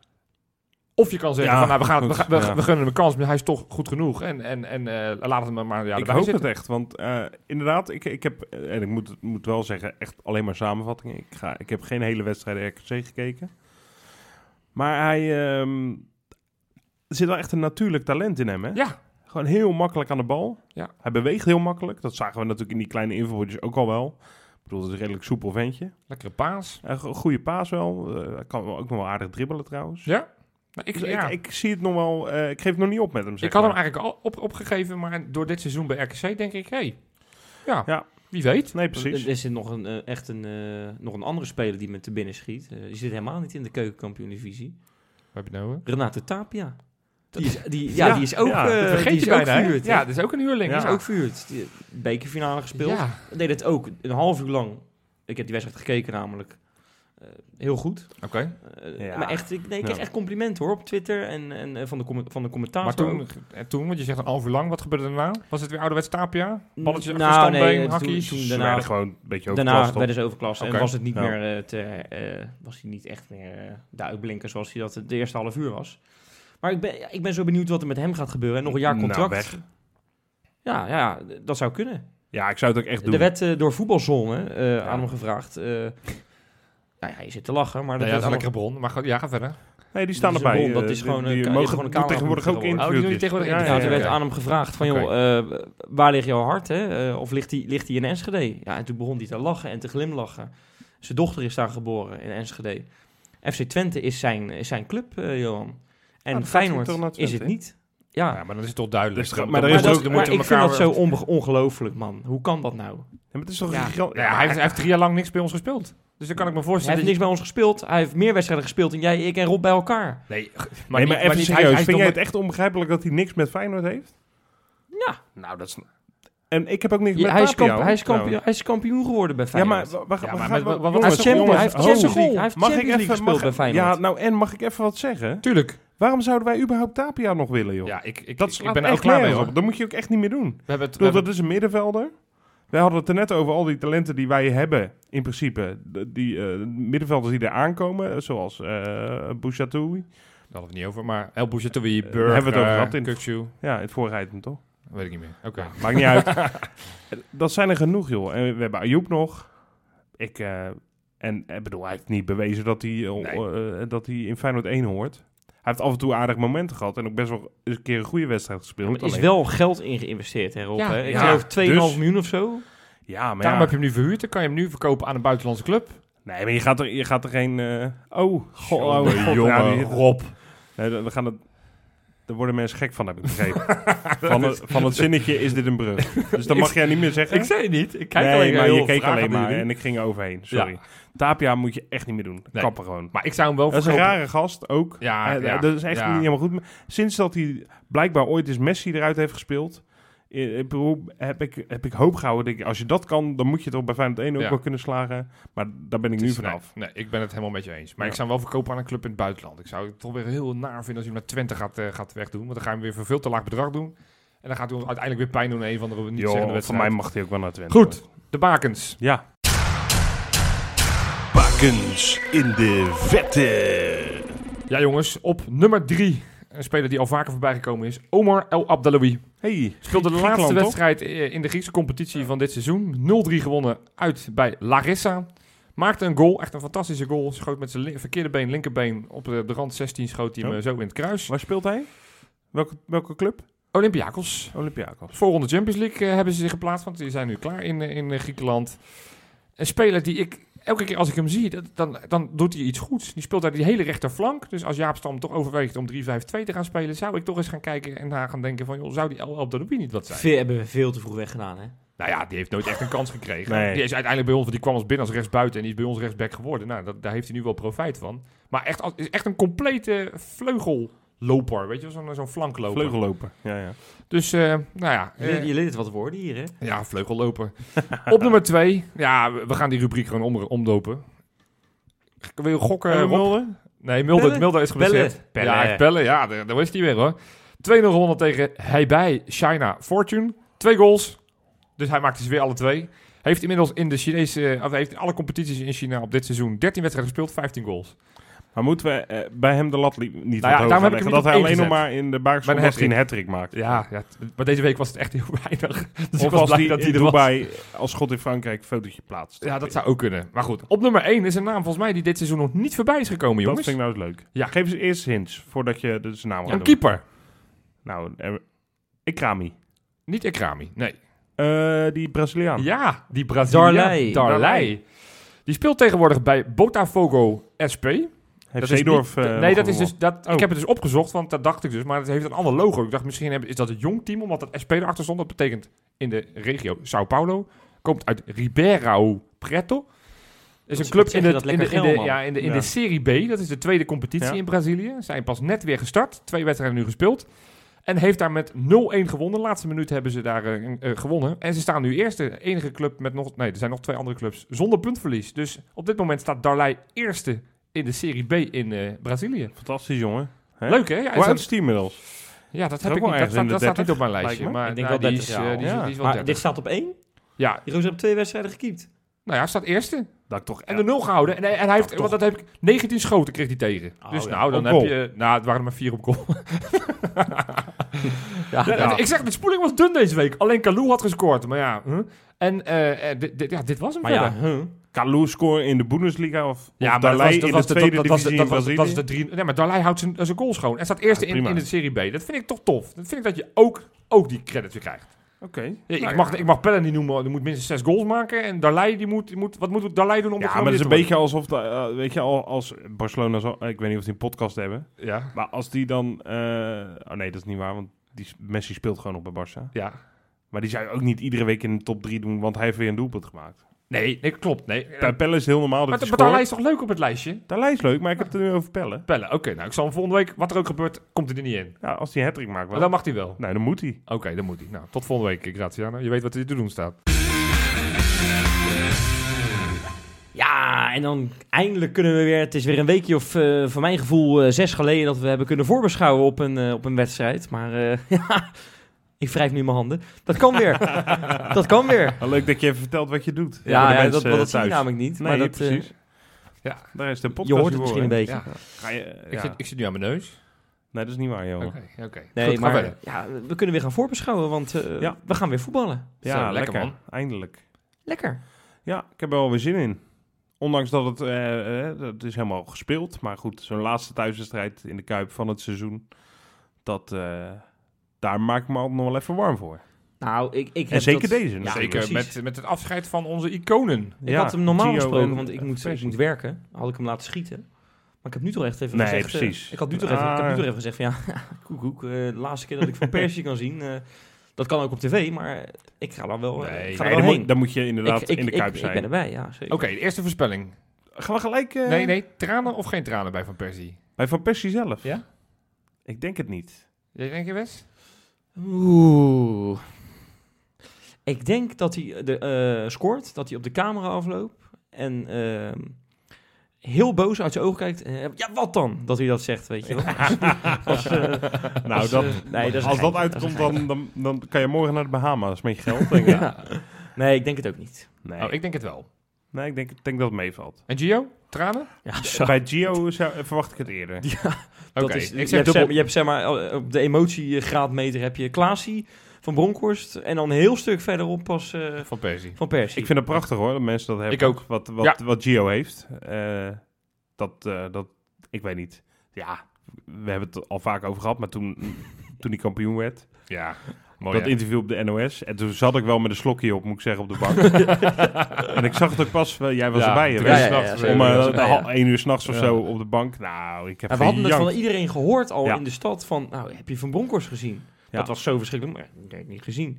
S3: Of je kan zeggen,
S1: Ja,
S3: van, nou, we, gaan,
S1: goed,
S3: we, gaan- we,
S1: ja.
S3: we gunnen hem een kans, maar hij is toch goed genoeg. En, en, en eh, laat hem maar ja,
S1: ik
S3: erbij
S1: hoop
S3: zitten.
S1: het echt, want eh, inderdaad, ik, ik heb, eh, en ik moet, moet wel zeggen, echt alleen maar samenvattingen. Ik, ga, ik heb geen hele wedstrijd RKC gekeken. Maar hij ehm, er zit wel echt een natuurlijk talent in hem, hè?
S3: Ja,
S1: Gewoon heel makkelijk aan de bal.
S3: Ja.
S1: Hij beweegt heel makkelijk. Dat zagen we natuurlijk in die kleine invalletjes ook al wel. Ik bedoel, het is een redelijk soepel ventje.
S3: lekkere paas.
S1: Een go- goede paas wel. Eh, Hij kan wel- ook nog wel aardig dribbelen trouwens.
S3: Ja. Nou, ik,
S1: Dus
S3: ja.
S1: Ik, ik zie het nog wel... eh, ik geef het nog niet op met hem, zeg
S3: ik had hem
S1: maar.
S3: eigenlijk al op, opgegeven, maar door dit seizoen bij RKC denk ik, hé, hey, ja,
S1: Ja.
S3: wie weet.
S1: Nee, precies.
S2: Er zit nog een, eh, echt een, eh, nog een andere speler die me te binnen schiet. Eh, die zit helemaal niet in de keukenkampioen-divisie.
S3: Wat heb je nou? hè?
S2: Renate Tapia. Die is, die, ja,
S1: Ja,
S2: die is ook,
S1: ja,
S2: eh,
S1: dat
S3: Vergeet
S2: die
S3: je
S2: is ook
S3: bijna, hè?
S2: vuurd. hè?
S3: Ja, dat is ook een huurling.
S2: Die is
S3: ja.
S2: ook vuurd. Die- Bekerfinale gespeeld.
S3: Ja.
S2: Deed het ook een half uur lang. Ik heb die wedstrijd gekeken namelijk. Eh, heel goed.
S3: Oké.
S2: Eh,
S1: Ja.
S2: Maar echt, ik, nee, ik kreeg
S1: Ja.
S2: echt complimenten hoor op Twitter en, en eh, van, de comment- van de commentaar.
S3: Maar toen, en toen, want je zegt een half uur lang, wat gebeurde er nou? Was het weer ouderwets tapia? Balletjes
S2: Nou,
S3: achter standbeen,
S2: nee, toen-
S3: hakjes?
S2: toen-
S1: Ze
S2: daarna-
S1: werden gewoon een beetje
S2: Daarna
S1: overklast op.
S2: werden ze overklast
S3: Oké.
S2: en was het niet
S1: Ja.
S2: meer eh, te, eh, was hij niet echt meer eh, de uitblinker zoals hij dat de eerste half uur was. Maar ik ben, ja, ik ben zo benieuwd wat er met hem gaat gebeuren. En nog een jaar
S1: Nou,
S2: contract.
S1: weg.
S2: Ja, ja, d- dat zou kunnen.
S1: Ja, ik zou het ook echt doen.
S2: Er werd eh, door voetbalzone eh, aan hem gevraagd. eh, nou ja, je zit te lachen, maar
S3: Nou
S2: dat
S3: ja, dat is
S2: werd
S3: een
S2: aan hem-
S3: lekkere bron, maar ga- ja, ga verder.
S1: Nee, die staan
S2: Dat is een
S1: erbij.
S2: bron, dat
S1: eh,
S2: is gewoon
S1: die-
S2: een
S1: die
S2: ka-
S1: mogen
S2: gewoon een
S1: doen
S2: camera
S1: tegenwoordig
S2: moeten
S1: ook
S2: worden.
S3: Oh, die doen die
S1: interviewtjes.
S3: tegenwoordig
S1: Ja,
S2: ja,
S3: interviews,
S2: toen
S1: ja,
S2: werd
S1: ja.
S2: aan hem gevraagd van,
S3: Oké.
S2: joh, eh, waar ligt jouw hart, hè? Eh, of ligt hij ligt die in Enschede? Ja, en toen begon hij te lachen en te glimlachen. Zijn dochter is daar geboren, in Enschede. FC Twente is zijn, is zijn club, eh, Johan. En
S1: dan Ah, gaat hij
S2: Feyenoord
S1: toch naar Twente,
S2: is het
S1: hè?
S2: niet. Ja,
S3: Ja, maar dan is het toch duidelijk.
S1: Dus ga-
S3: Dan-
S1: maar
S3: dan
S1: er is
S3: moeten-
S1: ook-
S3: dan
S2: maar
S3: moeten
S2: ik vind dat
S3: elkaar-
S2: zo onbe- ongelooflijk, man. Hoe kan dat nou?
S1: Ja, maar het is toch
S2: Ja.
S1: een gigant...
S3: Nou ja, hij, heeft, hij heeft drie jaar lang niks bij ons gespeeld. Dus dan kan ik me
S2: Hij
S3: voorstellen...
S2: heeft niks bij ons gespeeld. Hij heeft meer wedstrijden gespeeld dan jij, ik en Rob bij elkaar.
S3: Nee, maar,
S1: maar, nee,
S3: niet-
S1: maar even
S3: niet-
S1: serieus.
S3: hij- hij is
S1: Vind
S3: nog
S1: jij
S3: maar-
S1: het echt onbegrijpelijk dat hij niks met Feyenoord heeft?
S2: Ja.
S1: Nou, dat is... En ik heb ook niks
S2: Ja,
S1: met
S2: hij, is
S1: Tapia,
S2: kamp-
S1: hoor,
S2: hij, is kampioen,
S1: trouwens.
S2: hij is kampioen geworden bij
S1: Ja, maar...
S2: Feyenoord.
S1: wa- wa-
S3: Ja,
S1: wa-
S3: maar
S1: ga-
S3: met-
S1: wa-
S3: wat- wat
S1: jongens,
S2: is Champions-
S1: jongens,
S2: hij heeft
S1: ho.
S2: Champions League- hij heeft
S1: Mag ik
S2: Champions League
S1: even- mag-
S2: gespeeld bij Feyenoord.
S1: Ja, nou en mag ik even wat zeggen?
S3: Tuurlijk.
S1: Waarom zouden wij überhaupt Tapia nog willen, joh?
S3: Ja, ik, ik,
S1: Dat
S3: ik
S1: slaat
S3: ben er ook
S1: echt
S3: klaar mee,
S1: nergens
S3: hoor.
S1: op. Dat moet je ook echt niet meer doen.
S3: We hebben het...
S1: Ik bedoel, dat is een middenvelder. Wij hadden het er net over al die talenten die wij hebben, in principe. D- Die eh, middenvelders die er aankomen, eh, zoals eh Bouchatoui.
S3: Daar hadden we het niet over, maar El Bouchatoui,
S1: Eh,
S3: Burger,
S1: daar hebben we het over gehad in-
S3: Kukçu.
S1: Ja, in het vorige item toch?
S3: Weet ik niet meer. Oké.
S1: Maakt niet uit. <laughs> Dat zijn er genoeg, joh. En we hebben Ayoub nog. Ik, eh, en eh, bedoel, hij heeft niet bewezen dat hij, eh, eh, dat hij in Feyenoord 1 hoort. Hij heeft af en toe aardig momenten gehad en ook best wel eens een keer een goede wedstrijd gespeeld.
S2: Er is
S1: Alleen-
S2: wel geld in geïnvesteerd, hè, Rob?
S3: Ja,
S2: hè? Ik
S1: ja,
S2: geloof 2,5
S1: dus-
S2: miljoen of zo.
S1: Ja, maar ja.
S3: Daarom heb je hem nu verhuurd. Dan kan je hem nu verkopen aan een buitenlandse club.
S1: Nee, maar je gaat er, je gaat er geen... eh, Oh, god,
S3: Jongen,
S1: oh, god,
S3: jongen,
S1: ja, die-
S3: Rob.
S1: Nee, we we gaan het... Daar worden mensen gek van, heb ik
S3: <laughs>
S1: begrepen. van, het, van het zinnetje is dit een brug. Dus dat mag jij niet meer zeggen.
S3: Ik zei het niet. Ik kijk
S1: nee,
S3: alleen
S1: maar
S3: heel
S1: je keek
S3: vragend
S1: alleen
S3: naar
S1: maar
S3: jullie.
S1: en ik ging er overheen. Sorry.
S3: Ja.
S1: Tapia moet je echt niet meer doen.
S3: Nee.
S1: Kappen gewoon.
S3: Maar ik zou hem wel
S1: Dat is een
S3: verkopen.
S1: rare gast ook.
S3: Ja,
S1: Eh,
S3: ja,
S1: dat is echt
S3: ja.
S1: niet helemaal goed. Sinds dat hij blijkbaar ooit eens Messi eruit heeft gespeeld... eh, ik bedoel, heb ik, heb ik hoop gehouden. Denk ik, als je dat kan, dan moet je toch bij Feyenoord 1 ook
S3: Ja.
S1: wel kunnen slagen. Maar daar ben ik
S3: Het
S1: nu
S3: is-
S1: vanaf.
S3: Nee, nee, ik ben het helemaal met je eens. Maar
S1: Ja.
S3: ik zou hem wel verkopen aan een club in het buitenland. Ik zou het toch weer heel naar vinden als hij hem naar Twente gaat, eh, gaat wegdoen. Want dan ga je hem weer voor veel te laag bedrag doen. En dan gaat hij ons uiteindelijk weer pijn doen in een van de niet
S1: Joh,
S3: zeggende
S1: voor
S3: wedstrijden.
S1: mij mag hij ook wel naar Twente.
S3: Goed, de bakens.
S1: Ja.
S4: Bakens in de vette.
S3: Ja jongens, op nummer drie. Een speler die al vaker voorbij gekomen is. Omar El Abdelawi.
S1: Hey,
S3: Speelde de
S1: Griekenland,
S3: laatste
S1: toch?
S3: wedstrijd eh, in de Griekse competitie van dit seizoen. 0-3 gewonnen uit bij Larissa. Maakte een goal, echt een fantastische goal. Schoot met zijn li- verkeerde been, linkerbeen op de, de rand 16, schoot hij hem
S1: Oh.
S3: eh, zo in het kruis.
S1: Waar speelt hij? Welke, welke club?
S3: Olympiakos.
S1: Olympiakos.
S3: Voorronde Champions League eh, hebben ze zich geplaatst, want die zijn nu klaar in, eh, in eh, Griekenland. Een speler die ik elke keer als ik hem zie, dat- dan, dan doet hij iets goeds. Die speelt daar die hele rechterflank. Dus als Jaap Stam toch overweegt om 3-5-2 te gaan spelen, zou ik toch eens gaan kijken en daar gaan denken van, joh, zou die El Abdeloubi niet wat zijn?
S2: Veel, hebben we veel te vroeg weggedaan, hè?
S3: Nou ja, die heeft nooit echt een kans gekregen.
S1: Nee.
S3: Die is uiteindelijk bij ons, want die kwam als binnen als rechtsbuiten en die is bij ons rechtsback geworden. Nou, dat, daar heeft hij nu wel profijt van. Maar echt, als- is echt een complete vleugelloper, weet je, wel, zo'n zo'n flankloper.
S1: Vleugelloper. Ja, ja.
S3: Dus, eh, nou ja,
S2: Je,
S3: eh,
S2: je liet het wat worden hier, hè?
S1: Eh,
S3: ja, vleugelloper. Op nummer twee, ja, we we gaan die rubriek gewoon om, omdopen. Wil je gokken,
S1: Eh,
S3: Rob?
S1: Mulder?
S3: Nee, Mulder,
S2: Bellen?
S3: Mulder is geblesseerd.
S2: Bellen.
S3: Ja,
S2: Bellen.
S3: echt bellen, ja, daar, daar was hij weer hoor. 2-0 gewonnen tegen Hebei China Fortune. Twee goals, dus hij maakte ze weer alle twee. eh, Heeft inmiddels in de Chinese, of heeft in alle competities in China op dit seizoen 13 wedstrijden gespeeld, 15 goals.
S1: Maar moeten we eh, bij hem de lat li- niet
S3: daarom
S1: nou
S3: heb ik hem niet
S1: Dat
S3: op
S1: hij
S3: één
S1: alleen nog
S3: gezet.
S1: maar in de buikschot
S3: Bij een
S1: was hij een hat-trick maakt.
S3: Ja, ja, t- maar deze week was het echt heel <laughs> weinig. <laughs> Dus ik
S1: of
S3: was
S1: als
S3: blij
S1: hij
S3: dat
S1: in
S3: hij er was.
S1: Dubai als schot in Frankrijk een fotootje plaatst.
S3: Ja, dat zou ook kunnen. Maar goed, op nummer 1 is een naam volgens mij die dit seizoen nog niet voorbij is gekomen,
S1: Dat
S3: jongens.
S1: vind ik nou eens leuk.
S3: Ja.
S1: Geef eens eerst hints voordat je de naam gaat
S3: Een
S1: noemen.
S3: keeper.
S1: Nou, eh, Ikrami.
S3: Niet Ekrami, nee.
S1: Eh, die Braziliaan.
S3: Ja, die Braziliaan.
S2: Darlei.
S3: Darlei. Die speelt tegenwoordig bij Botafogo SP.
S1: Heeft
S3: is
S1: Zeedorf...
S3: niet-
S1: eh,
S3: nee,
S1: nog
S3: dat is
S1: gewonnen?
S3: dus, dat,
S1: Oh.
S3: ik heb het dus opgezocht, want dat dacht ik dus. Maar het heeft een ander logo. Ik dacht, misschien hebben, is dat het jong team, omdat dat SP erachter stond. Dat betekent in de regio Sao Paulo. Komt uit Ribeirão Preto. Is een
S2: is-
S3: club
S2: wat
S3: in,
S2: zeg je,
S3: het,
S2: dat
S3: in,
S2: lekker
S3: de, in,
S2: geel,
S3: de,
S2: man.
S3: ja, in, de, in
S1: Ja.
S3: de Serie B. Dat is de tweede competitie
S1: Ja.
S3: in Brazilië. Zijn pas net weer gestart. Twee wedstrijden nu gespeeld. En heeft daar met 0-1 gewonnen. Laatste minuut hebben ze daar eh, eh, gewonnen. En ze staan nu eerste. Enige club met nog... Nee, er zijn nog twee andere clubs zonder puntverlies. Dus op dit moment staat Darlei eerste in de Serie B in eh, Brazilië.
S1: Fantastisch, jongen. Hè?
S3: Leuk, hè? Ja,
S1: Hoe oud
S3: dat,
S1: is die inmiddels?
S3: ja, dat
S1: Is
S3: heb
S1: ook
S3: ik
S1: wel
S3: niet.
S1: ergens
S3: Dat,
S1: in
S3: staat,
S1: de
S3: dat staat
S1: 30,
S3: niet op mijn lijstje.
S1: lijkt me.
S3: Maar
S2: Ik denk
S3: nou,
S2: wel
S3: die,
S2: 30
S3: is, eh,
S2: jaar
S3: die, is,
S1: al.
S3: die is wel
S2: Maar
S3: 30.
S2: dit staat op één.
S3: Ja,
S2: Jeroen heeft twee wedstrijden gekiept.
S3: nou ja, hij staat eerste.
S1: Dat ik toch...
S3: En de nul gehouden. En, hij- en hij heeft,
S1: toch.
S3: want dat heb ik, 19 schoten kreeg hij tegen.
S2: Oh,
S3: dus
S2: ja.
S3: nou, dan
S1: Op
S3: heb
S1: goal.
S3: je... Nou, het waren er maar vier op goal.
S2: Ja,
S3: Ja,
S1: Ja.
S3: Ik zeg, de spoeling was dun deze week. Alleen Kalou had gescoord. Maar ja, huh? en eh, eh, dit- dit- ja, dit was hem
S2: Maar
S3: verder.
S2: ja, huh.
S1: Kalou scoren in de Bundesliga of, of
S3: Ja, maar dat was,
S1: Dalai
S3: dat
S1: in
S3: was
S1: de
S3: de-
S1: tweede
S3: dat, dat was de-
S1: divisie
S3: dat
S1: in
S3: was-
S1: Brazilië?
S3: dat was de drie. Nee, maar Darlei houdt zijn, zijn goal schoon. En staat eerste
S1: Ja,
S3: in,
S1: prima.
S3: in de Serie B. Dat vind ik toch tof. Dat vind ik dat je ook, ook die credit weer krijgt.
S1: Oké.
S3: Ja, ik,
S1: Nou
S3: mag,
S1: ja.
S3: ik mag Pellen niet noemen, want die moet minstens zes goals maken. En Darlei, die moet, die moet, wat moet Darlei doen om
S1: Ja,
S3: genomineerd
S1: maar het is een
S3: te
S1: beetje alsof, de, eh, weet je, al- als Barcelona, zo, ik weet niet of die een podcast hebben,
S3: worden? Ja,
S1: maar als die dan, eh, oh nee, dat is niet waar, want die, s- Messi speelt gewoon nog bij Barça.
S3: ja.
S1: Maar die zou je ook niet iedere week in de top 3 doen, want hij heeft weer een doelpunt gemaakt.
S3: Nee, nee, klopt. Nee.
S1: Bij Pelle is het heel normaal
S3: maar
S1: dat hij
S3: maar Darlei
S1: scoort.
S3: is toch leuk op het lijstje?
S1: Dalai is leuk, maar ik heb het er nu over Pelle.
S3: Pellen, oké. nou, ik zal hem volgende week, wat er ook gebeurt, komt hij er niet in.
S1: Ja, als hij een hat-trick maakt
S3: Maar
S1: wel.
S3: dan mag hij wel.
S1: Nee, dan moet hij.
S3: Oké, dan moet hij. Nou, tot volgende week, Graziano. Je weet wat er te doen staat.
S2: Ja, en dan eindelijk kunnen we weer. Het is weer een weekje of, eh, van mijn gevoel, eh, zes geleden dat we hebben kunnen voorbeschouwen op een, eh, op een wedstrijd. Maar eh, <laughs> ja, ik wrijf nu mijn handen. Dat kan <laughs> weer. dat kan weer.
S1: Ah, leuk dat je even vertelt wat je doet.
S2: Ja,
S1: Voor de
S2: ja,
S1: mensen
S2: dat, dat zie je
S1: thuis.
S2: namelijk niet.
S1: Nee,
S2: maar dat, eh,
S1: precies.
S3: Ja.
S1: Daar is de podcast
S2: je hoort het
S1: hiervoor,
S2: misschien een
S1: hè?
S2: beetje.
S3: Ja.
S1: Ga je, eh,
S3: Ik,
S1: ja.
S3: zit, ik zit nu aan mijn neus.
S1: Nee, dat is niet waar, joh.
S3: Oké, Oh. oké.
S2: Nee,
S3: Goed, ga
S2: maar
S3: verder.
S2: ja, we kunnen weer gaan voorbeschouwen, want eh,
S1: Ja.
S2: we gaan weer voetballen.
S1: Ja,
S3: Zo, lekker,
S1: lekker
S3: man.
S1: man. Eindelijk.
S2: Lekker.
S1: Ja, ik heb er wel weer zin in. Ondanks dat het, eh, eh, het is helemaal gespeeld. Maar goed, zo'n laatste thuiswedstrijd in de Kuip van het seizoen. Dat, eh, daar maak ik me altijd nog wel even warm voor.
S2: Nou, ik, ik heb
S1: En zeker
S2: dat-
S1: deze. natuurlijk.
S3: Zeker
S2: precies.
S3: met, met het afscheid van onze iconen.
S2: Ik
S1: Ja,
S2: had hem normaal
S1: Gio
S2: gesproken,
S1: en,
S2: want ik
S1: eh,
S2: moet, ik
S1: Persie.
S2: moet werken. Had ik hem laten schieten. Maar ik heb nu toch echt even
S1: Nee,
S2: gezegd... eh,
S1: precies.
S2: ik, had nu toch even, ik heb nu
S1: Ah.
S2: toch even gezegd van ja, <laughs> koek, koek. eh, de laatste keer
S1: <laughs>
S2: dat ik van Persie kan zien... eh, dat kan ook op tv, maar ik ga dan wel, eh,
S3: Nee,
S2: ik ga
S1: Nee,
S2: er wel
S1: dan,
S2: heen.
S1: moet, dan moet je inderdaad
S2: ik, ik,
S1: in de
S2: ik-
S1: Kuip
S2: ik
S1: zijn.
S2: ben erbij, ja. Zeker.
S3: Oké, de eerste voorspelling.
S1: Gaan we gelijk eh,
S3: Nee, nee, tranen of geen tranen bij Van Persie?
S1: bij Van Persie zelf?
S3: Ja?
S1: Ik denk het niet.
S3: Jij denkt je, Wes?
S2: Oeh. Ik denk dat hij de, eh, scoort, dat hij op de camera afloopt en ehm, heel boos uit zijn ogen kijkt. eh, ja, wat dan? Dat hij dat zegt, weet je wel. <laughs> Als, eh,
S1: Nou, dat,
S2: nee, dat is een
S1: als dat
S2: geintje,
S1: uitkomt,
S2: dat is
S1: dan, dan, dan kan je morgen naar de Bahama's met je geld. Denk ik.
S2: nee, ik denk het ook niet.
S1: Nee.
S3: Oh, ik denk het wel.
S1: nee, ik denk, ik denk dat het meevalt.
S3: En Gio? Tranen?
S2: Ja, zo.
S1: Bij Gio zou- verwacht ik het eerder.
S3: Oké,
S2: dat is,
S3: ik
S2: je, hebt,
S3: zeg
S2: zeg,
S3: dubbel.
S2: je hebt zeg maar eh, op de emotiegraadmeter heb je Klaasie van Bronkhorst en dan een heel stuk verderop pas eh,
S3: Van Persie.
S2: van Persie.
S1: Ik vind het prachtig hoor, dat mensen dat hebben.
S3: Ik ook.
S1: Wat, wat,
S3: Ja.
S1: wat Gio heeft. Eh, dat, eh, dat, ik weet niet. Ja, we hebben het er al vaak over gehad, maar toen,
S3: <laughs>
S1: toen hij kampioen werd.
S3: Ja, mooi
S1: dat
S3: hè?
S1: interview op de NOS. En toen zat ik wel met een slokje op, moet ik zeggen, op de bank.
S3: <laughs>
S1: en ik zag het ook pas, wel, jij was
S3: Ja,
S1: erbij.
S3: drie
S1: hè, Wes?
S2: ja, ja,
S3: s'nachts.
S2: zeker.
S1: Om
S2: Ja,
S1: eh,
S2: ja.
S1: hal- één uur s'nachts of
S3: Ja.
S1: zo op de bank. Nou, ik heb
S2: En we hadden het van
S1: gejankt.
S2: iedereen gehoord al
S1: Ja.
S2: in de stad van, nou, heb je Van Bronckhorst gezien?
S1: Ja.
S2: Dat was zo verschrikkelijk, maar ik heb het niet gezien.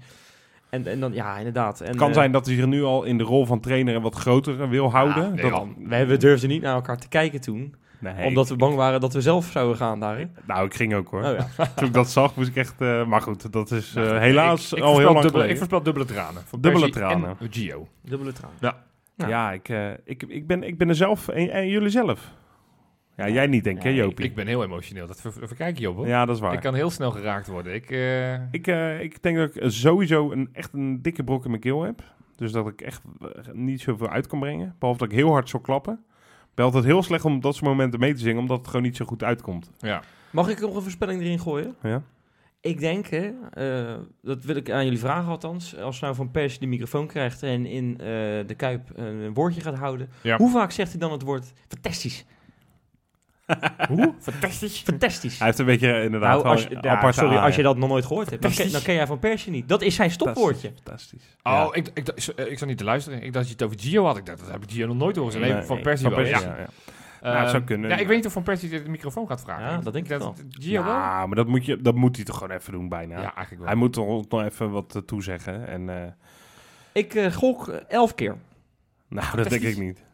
S2: En, en dan, ja, inderdaad. En,
S1: Het kan
S2: eh,
S1: zijn dat hij zich nu al in de rol van trainer en wat groter wil houden.
S3: nee,
S1: dat,
S3: man.
S2: we, we durfden niet naar elkaar te kijken toen,
S1: Nee,
S2: omdat we bang waren dat we zelf zouden gaan daar. hè?
S1: Nou, ik ging ook hoor.
S2: Oh, ja. <laughs>
S1: Toen ik dat zag, moest ik echt... eh, maar goed, dat is eh,
S3: Nou,
S1: helaas
S3: ik- ik
S1: al heel
S3: voorspel
S1: lang
S3: dubbele,
S1: geleden.
S3: Ik voorspel dubbele tranen. Van
S1: Dubbele
S3: Persie
S1: tranen.
S3: En Gio.
S2: Dubbele traan.
S1: Ja,
S2: Ja.
S1: ik, eh, ik, ik, ben, ik ben er zelf en, en jullie zelf. Ja, jij niet denk ik, hè,
S2: Nee,
S1: Jopie?
S3: Ik ben heel emotioneel. Dat ver- verkijk je op hoor.
S1: ja, dat is waar.
S3: Ik kan heel snel geraakt worden. Ik, eh,
S1: Ik, eh, ik denk dat ik sowieso een, echt een dikke brok in mijn keel heb. Dus dat ik echt eh, niet zoveel uit kan brengen. Behalve dat ik heel hard zou klappen. ben altijd heel slecht om dat soort momenten mee te zingen, omdat het gewoon niet zo goed uitkomt.
S3: Ja.
S2: Mag ik nog een voorspelling erin gooien?
S1: Ja?
S2: Ik denk, hè, eh, dat wil ik aan jullie vragen althans. Als nou Van Persie de microfoon krijgt en in eh, de Kuip een woordje gaat houden.
S3: Ja.
S2: Hoe vaak zegt hij dan het woord
S3: <laughs>
S2: fantastisch?
S3: Hoe? Fantastisch.
S2: Fantastisch.
S1: Hij heeft een beetje eh, inderdaad
S2: Nou, als,
S1: wel
S2: je-
S1: een Ah,
S2: ja,
S1: aparte
S2: sorry,
S1: aai.
S2: als je dat nog nooit gehoord hebt, dan ken, dan ken jij Van Persie niet. Dat is zijn stopwoordje.
S1: Fantastisch.
S3: Oh,
S1: Ja.
S3: ik, ik, ik, ik zat niet te luisteren. Ik dacht dat je het over Gio had. Ik dacht, dat heb ik Gio nog nooit horen. Nee,
S1: Nee,
S3: van
S2: nee,
S3: Persie
S1: Van
S3: wel.
S1: Persie,
S3: ja.
S1: ja, ja.
S3: Eh,
S1: Nou, het zou kunnen.
S3: Ja, ik weet niet of Van Persie dit de microfoon gaat vragen.
S2: Ja, dat denk ik wel.
S3: Gio wel?
S1: Ja, maar dat moet, je, dat moet hij toch gewoon even doen bijna.
S3: Ja, eigenlijk
S1: Hij
S3: wel.
S1: moet toch nog even wat eh, toezeggen. En, eh,
S2: Ik eh, gok eh, elf keer.
S1: nou, dat denk ik niet.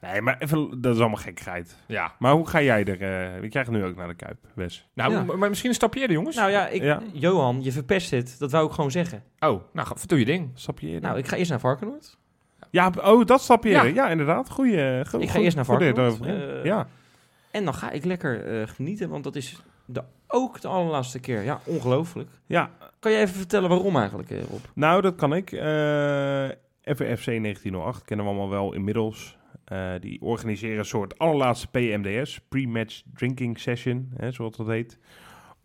S1: Nee, maar even, dat is allemaal gekheid.
S3: Ja.
S1: Maar hoe ga jij er... eh, ik krijg nu ook naar de Kuip, Wes.
S3: Nou,
S2: Ja.
S3: maar- maar misschien een stapje eerder, jongens.
S2: Nou ja, ik,
S1: Ja.
S2: Johan, je verpest het. Dat wou ik gewoon zeggen.
S3: oh, nou, ga- doe je ding.
S1: Stap je eerder?
S2: Nou, ik ga eerst naar Varkenoord.
S1: ja, oh, dat stap je
S3: Ja.
S1: eerder. Ja, inderdaad. Goeie, eh, go-
S2: Ik ga
S1: goed-
S2: eerst naar
S1: goed dat je
S2: Varkenoord.
S1: erover begint.
S2: Eh,
S1: ja.
S2: En dan ga ik lekker eh, genieten, want dat is de, ook de allerlaatste keer. Ja, ongelooflijk.
S1: ja,
S2: Kan je even vertellen waarom eigenlijk, eh, Rob?
S1: nou, dat kan ik. Eh FFC 1908 kennen we allemaal wel inmiddels. Eh, die organiseren een soort allerlaatste PMDS, pre-match drinking session, hè, zoals dat heet.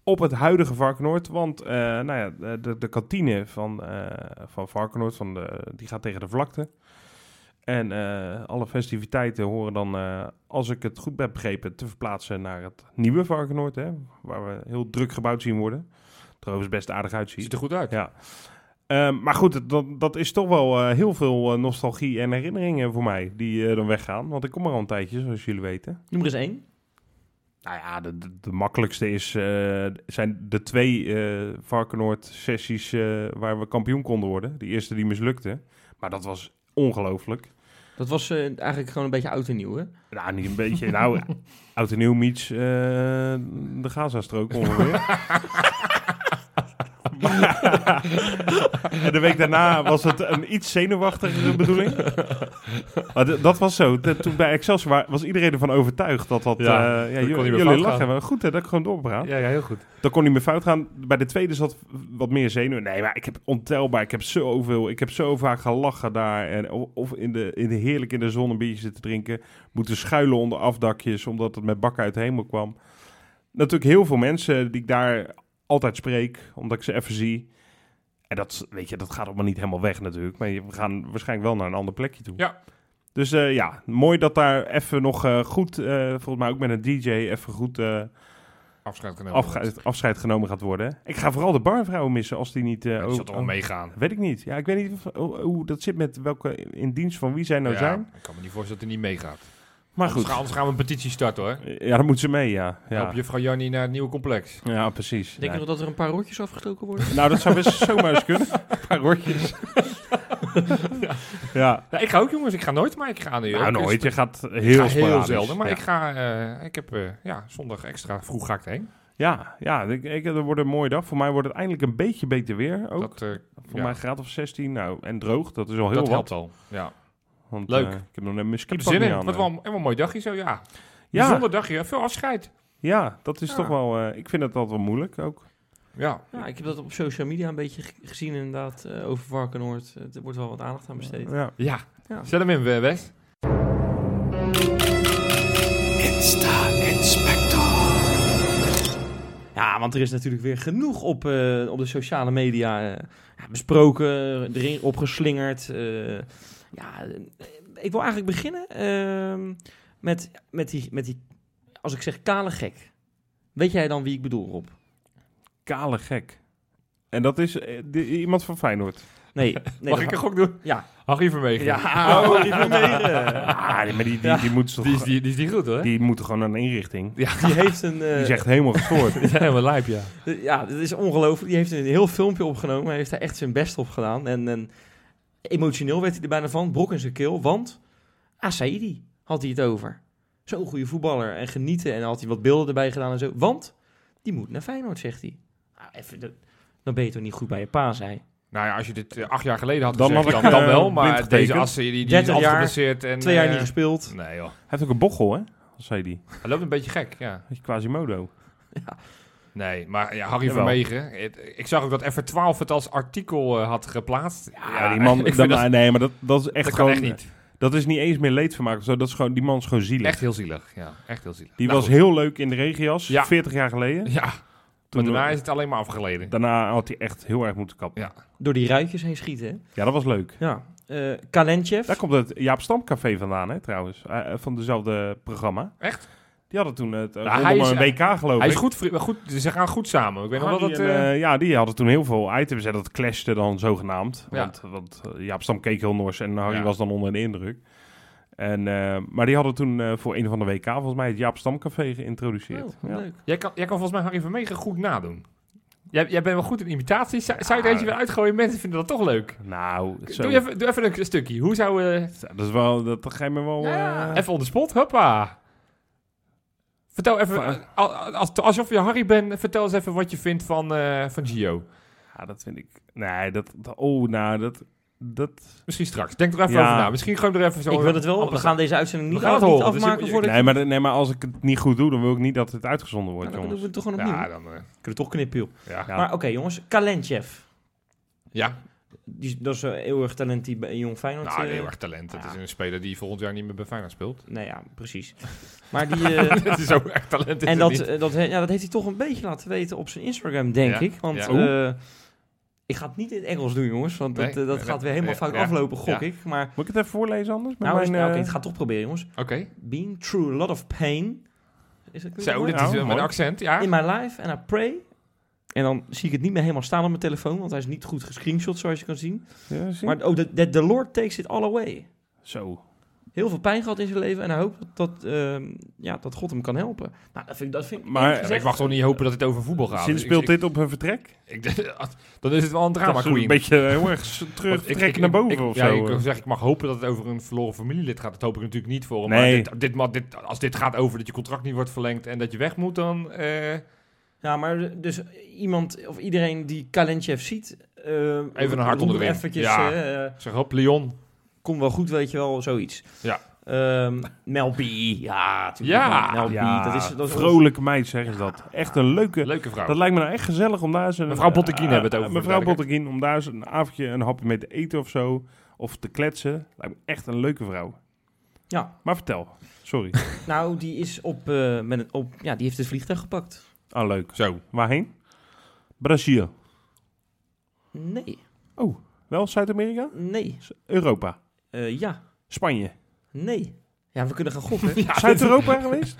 S1: Op het huidige Varkenoord, want eh, nou ja, de- de, de kantine van, eh van Varkenoord van de, die gaat tegen de vlakte. En eh, alle festiviteiten horen dan, eh, als ik het goed heb begrepen, te verplaatsen naar het nieuwe Varkenoord. Hè, waar we heel druk gebouwd zien worden. Het er overigens best aardig uitziet.
S3: Ziet er goed uit.
S1: Ja. Ehm, maar goed, het- dat, dat is toch wel eh, heel veel eh, nostalgie en herinneringen voor mij die eh, dan weggaan. Want ik kom er al een tijdje, zoals jullie weten.
S2: Noem er eens één.
S1: Nou ja, de, de, de makkelijkste is, eh, zijn de twee eh Varkenoord-sessies eh, waar we kampioen konden worden. Die eerste die mislukte, maar dat was ongelooflijk.
S2: Dat was eh, eigenlijk gewoon een beetje oud en nieuw, hè?
S1: Nou, niet een beetje, <laughs> nou, oud en nieuw meets eh, de Gaza-strook ongeveer. Maar- <laughs> en de week daarna was het een iets zenuwachtigere bedoeling. Maar d- dat was zo. T- Toen bij Excelsior wa- was iedereen ervan overtuigd dat dat...
S3: Ja,
S1: eh, Ja,
S3: dat kon
S1: j-
S3: niet meer
S1: jullie
S3: fout
S1: lachen.
S3: gaan.
S1: Maar goed hè, dat ik gewoon doorpraat.
S3: ja, heel goed.
S1: Dan kon niet meer fout gaan. Bij de tweede zat wat meer zenuw. Nee, maar ik heb ontelbaar. Ik heb zoveel. Ik heb zo vaak gelachen daar. En o- of in de, in de heerlijk in de zon een biertje zitten drinken. Moeten schuilen onder afdakjes. Omdat het met bakken uit de hemel kwam. Natuurlijk heel veel mensen die ik daar altijd spreek. Omdat ik ze even zie. En dat, weet je, dat gaat allemaal niet helemaal weg natuurlijk. Maar je- we gaan waarschijnlijk wel naar een ander plekje toe.
S3: Ja.
S1: Dus eh, ja, mooi dat daar even nog eh, goed, eh, volgens mij ook met een DJ, even goed eh,
S3: Afscheid genomen.
S1: afge- afscheid genomen gaat worden. Ik ga vooral de barvrouwen missen als die niet... eh,
S3: Ja, die
S1: ook- Oh,
S3: zal toch wel meegaan.
S1: Weet ik niet. Ja, ik weet niet of- hoe, hoe dat zit met welke in dienst van wie zij nou
S3: Ja,
S1: zijn.
S3: Ik kan me niet voorstellen dat hij niet meegaat.
S1: Maar
S3: Anders, gaan,
S1: goed.
S3: anders gaan we een petitie starten hoor.
S1: Ja, dan moet ze mee, ja.
S3: Ja.
S1: Ja,
S3: Op juffrouw Jannie naar het nieuwe complex.
S1: ja precies.
S2: Denk je
S1: Nee.
S2: nog dat er een paar rotjes afgestoken worden?
S1: Nou, dat zou
S3: <laughs>
S1: best zomaar eens kunnen. Een paar rondjes. ja.
S3: Ja, ik ga ook jongens, ik ga nooit, maar ik ga nu.
S1: Nou,
S3: ook.
S1: nooit. Je gaat
S3: Ik
S1: heel,
S3: ga heel
S1: sporadisch.
S3: zelden, maar
S1: Ja.
S3: ik ga, eh, ik heb eh, ja, zondag extra vroeg ga ik heen.
S1: Ja, ja ik, ik, dat wordt een mooie dag. Voor mij wordt het eindelijk een beetje beter weer ook.
S3: Dat, eh,
S1: Voor
S3: ja,
S1: mij een graad of 16. Nou, en droog. Dat is al heel
S3: dat
S1: wat.
S3: helpt al. Ja.
S1: Want,
S3: Leuk.
S1: eh, ik heb nog net mijn
S3: Ik heb
S1: skipak
S3: er zin
S1: niet
S3: in.
S1: aan,
S3: Wat
S1: eh.
S3: wel een, wel een mooi dagje zo, ja.
S1: ja,
S3: Bijzonder dagje, veel afscheid.
S1: ja, dat is
S3: Ja.
S1: toch wel... eh, ik vind het altijd wel moeilijk ook.
S3: Ja,
S2: Ja, ik heb dat op social media een beetje g- gezien inderdaad, eh, over Varkenoord. Eh, Er wordt wel wat aandacht aan besteed.
S1: Ja.
S3: ja.
S2: Ja.
S3: Zet hem in, eh, Wes.
S4: Insta-inspector.
S2: Ja, want er is natuurlijk weer genoeg op, eh, op de sociale media eh, ja, besproken, erin opgeslingerd. eh. ja, eh, ik wil eigenlijk beginnen ehm, met, met, die, met die, als ik zeg kale gek. Weet jij dan wie ik bedoel, Rob?
S1: Kale gek. En dat is eh, de- iemand van Feyenoord.
S3: <laughs>
S2: Nee. nee
S3: Mag
S2: dat-
S3: ik een gok doen?
S2: Ja.
S3: Harry Vermegen. <laughs>
S2: Ja, oh, die Vermeegen.
S1: Ah, die- maar die, die,
S2: Ja.
S1: die, moet toch,
S3: Die,
S1: die,
S3: is, die, die is niet goed hoor.
S1: moeten gewoon naar een inrichting.
S2: Die heeft een... eh,
S1: Die is echt helemaal
S3: <laughs>
S1: gestoord.
S3: <laughs> Die zijn helemaal lijp, ja.
S2: Ja, dat is ongelooflijk. Die heeft een heel filmpje opgenomen. Hij heeft daar echt zijn best op gedaan. En, en emotioneel werd hij er bijna van. Brok in zijn keel. Want Asaidi had hij het over. Zo'n goede voetballer. En genieten. En had hij wat beelden erbij gedaan en zo. Want die moet naar Feyenoord, zegt hij. Nou, even, dat- dan ben je toch niet goed bij je pa, zei
S3: Nou ja, als je dit eh, acht jaar geleden had
S1: Dan
S3: gezegd,
S1: had ik,
S3: dan, dan
S1: eh,
S3: wel. Maar
S1: blind getekend.
S3: deze assen, die, die is
S2: 30
S3: altijd
S2: jaar,
S3: geblesseerd. En,
S2: Twee jaar
S3: eh,
S2: niet gespeeld.
S3: Nee joh,
S1: Hij heeft ook een bochel, hè? Als zei die.
S3: hij loopt een beetje gek, ja.
S1: Weet je, Quasimodo.
S3: Nee, maar ja, Harry
S1: Jawel.
S3: Vermegen. het- Ik zag ook dat F12 het als artikel eh, had geplaatst.
S1: Ja, die man...
S3: <laughs> ik
S1: dat-
S3: vind dat,
S1: nee, maar dat, dat is echt
S3: dat kan
S1: gewoon...
S3: echt niet.
S1: Dat is niet eens meer leedvermaak of zo. Dat is gewoon, die man is gewoon zielig.
S3: Echt heel zielig. Ja, echt heel zielig.
S1: Die
S3: Nou,
S1: was
S3: goed.
S1: heel leuk in de regenjas,
S3: Ja.
S1: 40 jaar geleden.
S3: Ja,
S1: Toen-
S3: maar daarna is het alleen maar afgeleden.
S1: Daarna had hij echt heel erg moeten kappen.
S3: Ja.
S1: Ja,
S2: Door die ruitjes heen schieten, hè?
S1: dat was leuk.
S2: Ja. Eh Kalentjev.
S1: Daar komt het Jaap Stamcafé vandaan, hè, trouwens. Eh, eh, van dezelfde programma.
S3: Echt?
S1: Die hadden toen het eh,
S3: Nou, hij
S1: rondom
S3: is-
S1: een WK geloof
S3: Hij
S1: Oh, ik.
S3: is goed, vri- goed, ze gaan goed samen. Ik weet nog wel
S1: Hardy
S3: dat...
S1: en,
S3: eh,
S1: eh, ja, die hadden toen heel veel items en dat clashte dan zogenaamd.
S3: Ja.
S1: Want, want eh, Jaap Stam keek heel nors en Harry
S3: Ja.
S1: was dan onder de indruk. En, eh, maar die hadden toen eh, voor een van de WK volgens mij het Jaap Stamcafé geïntroduceerd.
S2: Oh,
S1: ja.
S2: leuk.
S3: jij, kan, jij kan volgens mij Harry van Meegen goed nadoen. Jij, jij bent wel goed in imitaties. Zou, zou je er eentje weer uitgooien? Mensen vinden dat toch leuk.
S1: Nou, zo,
S3: Doe even, doe even een stukje. Hoe zou... eh,
S1: dat is wel, dat ga je me wel... eh,
S3: Even on the spot, hoppa. Vertel even, eh,
S1: Va-
S3: al- als, alsof je Harry bent, vertel eens even wat je vindt van, eh, van Gio.
S1: ja, dat vind ik... Nee, dat... dat- Oh, nou, dat... dat
S3: Misschien straks. Denk er even
S1: Ja.
S3: over na. Misschien gewoon er even zo...
S2: Ik wil het wel. We
S3: anders-
S2: gaan deze uitzending niet,
S3: We gaan het
S2: af- niet
S3: horen, dus je
S2: afmaken
S3: moet-
S2: voordat...
S1: nee, maar, nee, maar als ik het niet goed doe, dan wil ik niet dat het uitgezonden
S2: Nou,
S1: wordt,
S2: dan doen
S1: jongens.
S2: we het toch gewoon opnieuw.
S3: Ja, dan... eh,
S2: Kunnen we toch knippen, joh.
S3: ja.
S1: Ja.
S2: Maar oké, jongens. Kalentjev.
S3: ja.
S2: Die, is- dat is een eeuwig talent die bij Jong Feyenoord...
S3: Nou,
S2: eh,
S3: heel erg talent. Het
S2: ja.
S3: is een speler die volgend jaar niet meer bij Feyenoord speelt. <laughs>
S2: Nee, ja, precies. Maar die... eh,
S3: Het is ook echt talent.
S2: en
S3: is het
S2: dat,
S3: niet.
S2: eh, dat, he- ja, dat heeft hij toch een beetje laten weten op zijn Instagram, denk
S3: Ja,
S2: ik. Want
S3: ja.
S2: eh, ik ga het niet in het Engels doen, jongens. Want
S3: Nee,
S2: dat, eh, dat
S3: nee,
S2: gaat weer helemaal
S3: nee,
S2: fout
S3: ja,
S2: aflopen, gok
S3: ja.
S2: ik. Maar
S1: Moet ik het even voorlezen anders? Met
S2: nou, is-
S1: mijn,
S2: nou, oké,
S1: eh,
S2: ik ga het toch proberen, jongens.
S3: Oké.
S2: Being through a lot of pain. Is dat klinkt
S3: Zo,
S2: mooi?
S3: dit
S1: Nou,
S3: is eh,
S1: mooi.
S3: mijn accent. Ja.
S2: In my life and I pray. En dan zie ik het niet meer helemaal staan op mijn telefoon, want hij is niet goed gescreenshot, zoals je kan zien.
S1: ja, zie-
S2: Maar oh, that, that the Lord takes it all away.
S1: Zo.
S2: Heel veel pijn gehad in zijn leven en hij hoopt dat, dat, ehm, ja, dat God hem kan helpen. Nou, dat vind ik... Dat vind ik
S1: Maar-
S2: eerlijk
S3: Ja, maar
S2: gezegd-
S3: ik mag toch niet hopen dat het over voetbal gaat.
S1: Sinds
S3: Ik-
S1: speelt
S3: ik-
S1: dit op een vertrek?
S3: ik- <laughs> dan is het wel een drama
S1: Dat is een
S3: queen.
S1: beetje eh, heel erg s- terug
S3: Want ik-
S1: trekken
S3: ik-
S1: naar boven
S3: ik-
S1: of
S3: ja,
S1: zo. eh.
S3: Ik, zeg, ik mag hopen dat het over een verloren familielid gaat. Dat hoop ik natuurlijk niet voor hem.
S1: Nee.
S3: Maar dit, dit, ma- dit- als dit gaat over dat je contract niet wordt verlengd en dat je weg moet, dan... eh,
S2: Ja, maar dus iemand of iedereen die Kalentjev ziet... eh,
S3: een hart
S2: roep
S3: onder de riem.
S2: Eventjes,
S3: Ja.
S2: eh, eh,
S3: ik zeg, hop, Leon.
S2: kom wel goed, weet je wel, zoiets.
S3: Ja.
S2: Ehm, Mel B, ja, natuurlijk.
S3: Ja.
S2: Mel B,
S1: Ja,
S2: dat is... Dat is
S1: Vrolijke meid zeggen ze dat. Echt een leuke...
S3: Leuke vrouw.
S1: Dat lijkt me nou echt gezellig om daar eens... een-
S3: Mevrouw Botteguin
S1: eh,
S3: hebben we het over,
S1: eh, Mevrouw
S3: duidelijk.
S1: Botteguin, om daar eens een avondje een hapje mee te eten of zo. Of te kletsen. Lijkt me echt een leuke vrouw.
S2: Ja.
S1: Maar vertel.
S3: <laughs>
S1: Sorry.
S2: Nou, die is op, eh, met een, op... Ja, die heeft het vliegtuig gepakt.
S1: Ah, leuk.
S3: Zo.
S1: Waarheen? Brazil.
S2: Nee,
S1: Wel Zuid-Amerika?
S2: nee,
S1: Europa.
S2: eh, ja,
S1: Spanje.
S3: Ah,
S2: nee. Ja, we kunnen gaan gokken.
S3: <laughs>
S1: Zuid-Europa geweest?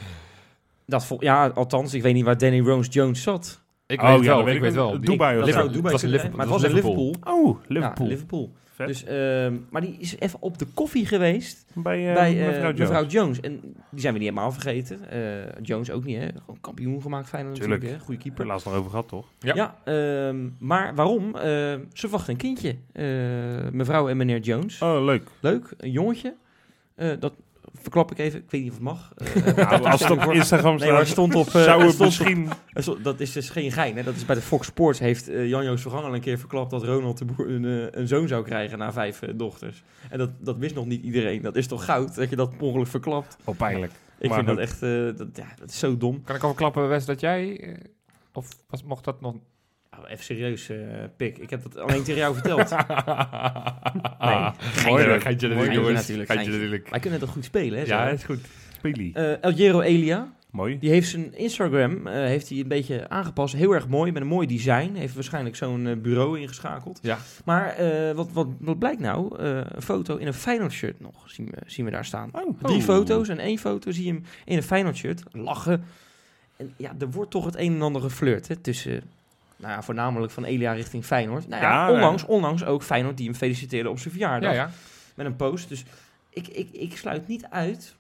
S2: dat vol- ja, althans, ik weet niet waar Danny Rose Jones zat.
S3: Ik
S1: Oh,
S3: weet het
S1: ja, dat
S3: wel. ik
S1: weet
S3: weet
S1: ik
S3: wel.
S1: ook.
S3: Die-
S1: Dubai of
S3: dat
S1: zo.
S3: zou-
S2: Dubai
S3: dat was in
S2: kunnen,
S3: Liverpool.
S2: maar het was in Liverpool.
S1: Oh,
S2: Ja,
S1: Liverpool.
S2: Liverpool.
S1: Vet.
S2: Dus, ehm, maar die is even op de koffie geweest
S1: Bij, eh,
S2: bij eh,
S1: mevrouw
S2: mevrouw,
S1: Jones.
S2: Jones. En die zijn we niet helemaal vergeten. Eh, Jones ook niet, hè? Gewoon kampioen gemaakt, Feyenoord
S1: Tuurlijk.
S2: natuurlijk. hè? Goede keeper.
S1: Helaas nog over gehad, toch?
S3: Ja.
S2: Ja, ehm, maar waarom? Ehm, ze wachten een kindje. Eh, mevrouw en meneer Jones.
S1: Oh, leuk.
S2: Leuk, een jongetje. Eh, dat verklap ik even. Ik weet niet of het mag. Eh,
S1: Nou, als het op Instagram
S2: Nee, maar het
S1: staat,
S2: stond op... eh,
S1: zou
S2: het
S1: het
S2: stond op-
S1: misschien...
S2: het stond- dat is dus geen gein. Hè? Dat is bij de Fox Sports heeft eh, Jan-Joos van Gangen al een keer verklapt dat Ronald de Boer een, eh, een zoon zou krijgen na vijf eh, dochters. En dat, dat wist nog niet iedereen. Dat is toch goud dat je dat per ongeluk verklapt.
S1: Oh, pijnlijk.
S2: Ik
S1: Maar
S2: vind dat
S1: goed.
S2: echt eh, dat, ja, dat is zo dom.
S3: Kan ik al verklappen, Wes, dat jij... eh, of was, mocht dat nog...
S2: Oh, even serieus, eh, Pik. Ik heb dat alleen tegen jou verteld. geintje.
S3: Mooi, hoor. Geintje
S2: Mooi,
S3: natuurlijk,
S2: geintje
S3: jongens.
S2: natuurlijk,
S3: Geintje
S2: geintje.
S3: natuurlijk.
S2: Wij kunnen toch goed spelen, hè? zo?
S3: Ja, is goed.
S1: Spelie.
S2: Eh, El Giro Elia,
S1: Mooi.
S2: die heeft zijn Instagram eh, heeft hij een beetje aangepast. Heel erg mooi, met een mooi design. Heeft waarschijnlijk zo'n eh, bureau ingeschakeld.
S3: Ja.
S2: Maar eh, wat, wat, wat blijkt nou? Eh, een foto in een Feyenoord shirt nog, zien we, zien we daar staan.
S1: Oh,
S2: Drie foto's en één foto zie je hem in een Feyenoord shirt lachen. En ja, er wordt toch het een en ander geflirt hè, tussen, nou ja, voornamelijk van Elia richting Feyenoord. Nou ja,
S1: Ja,
S2: onlangs, onlangs ook Feyenoord die hem feliciteerde op zijn verjaardag
S3: Ja, ja.
S2: met een post. Dus ik, ik, ik sluit niet uit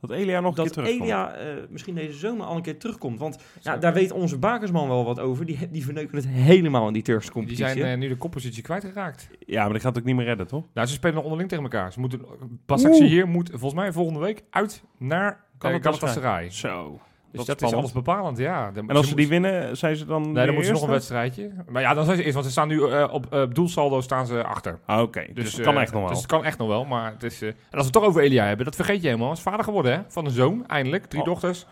S1: Dat Elia nog een
S2: dat
S1: keer terugkomt.
S2: Elia eh, misschien deze zomer al een keer terugkomt. Want ja, daar weet onze Bakersman wel wat over. Die, die verneuken het helemaal in die Turkse
S3: Die
S2: competitie.
S3: zijn eh, nu de koppositie kwijtgeraakt.
S1: Ja, maar die gaat ook niet meer redden, toch?
S3: Nou, ze spelen nog onderling tegen elkaar. Ze moeten, Basakse
S1: Oeh.
S3: hier moet volgens mij volgende week uit naar eh,
S1: Galatasaray.
S3: Galatasaray.
S1: Zo.
S3: Dus dat, is
S1: spannend.
S3: alles bepalend, ja. Dan-
S1: En als ze
S3: ze moet-
S1: die winnen, zijn ze dan
S3: Nee,
S1: weer
S3: dan moeten ze nog een
S1: eerste?
S3: wedstrijdje. Maar ja, dan zijn ze eerst, want ze staan nu eh, op eh, doelsaldo staan ze achter.
S1: Ah, Oké, dus, het kan
S3: eh,
S1: echt nog wel.
S3: Dus het kan echt nog wel, maar het is... eh, en als we het toch over Elia hebben, dat vergeet je helemaal. Hij is vader geworden, hè? Van een zoon, eindelijk. Drie
S1: Oh.
S3: dochters.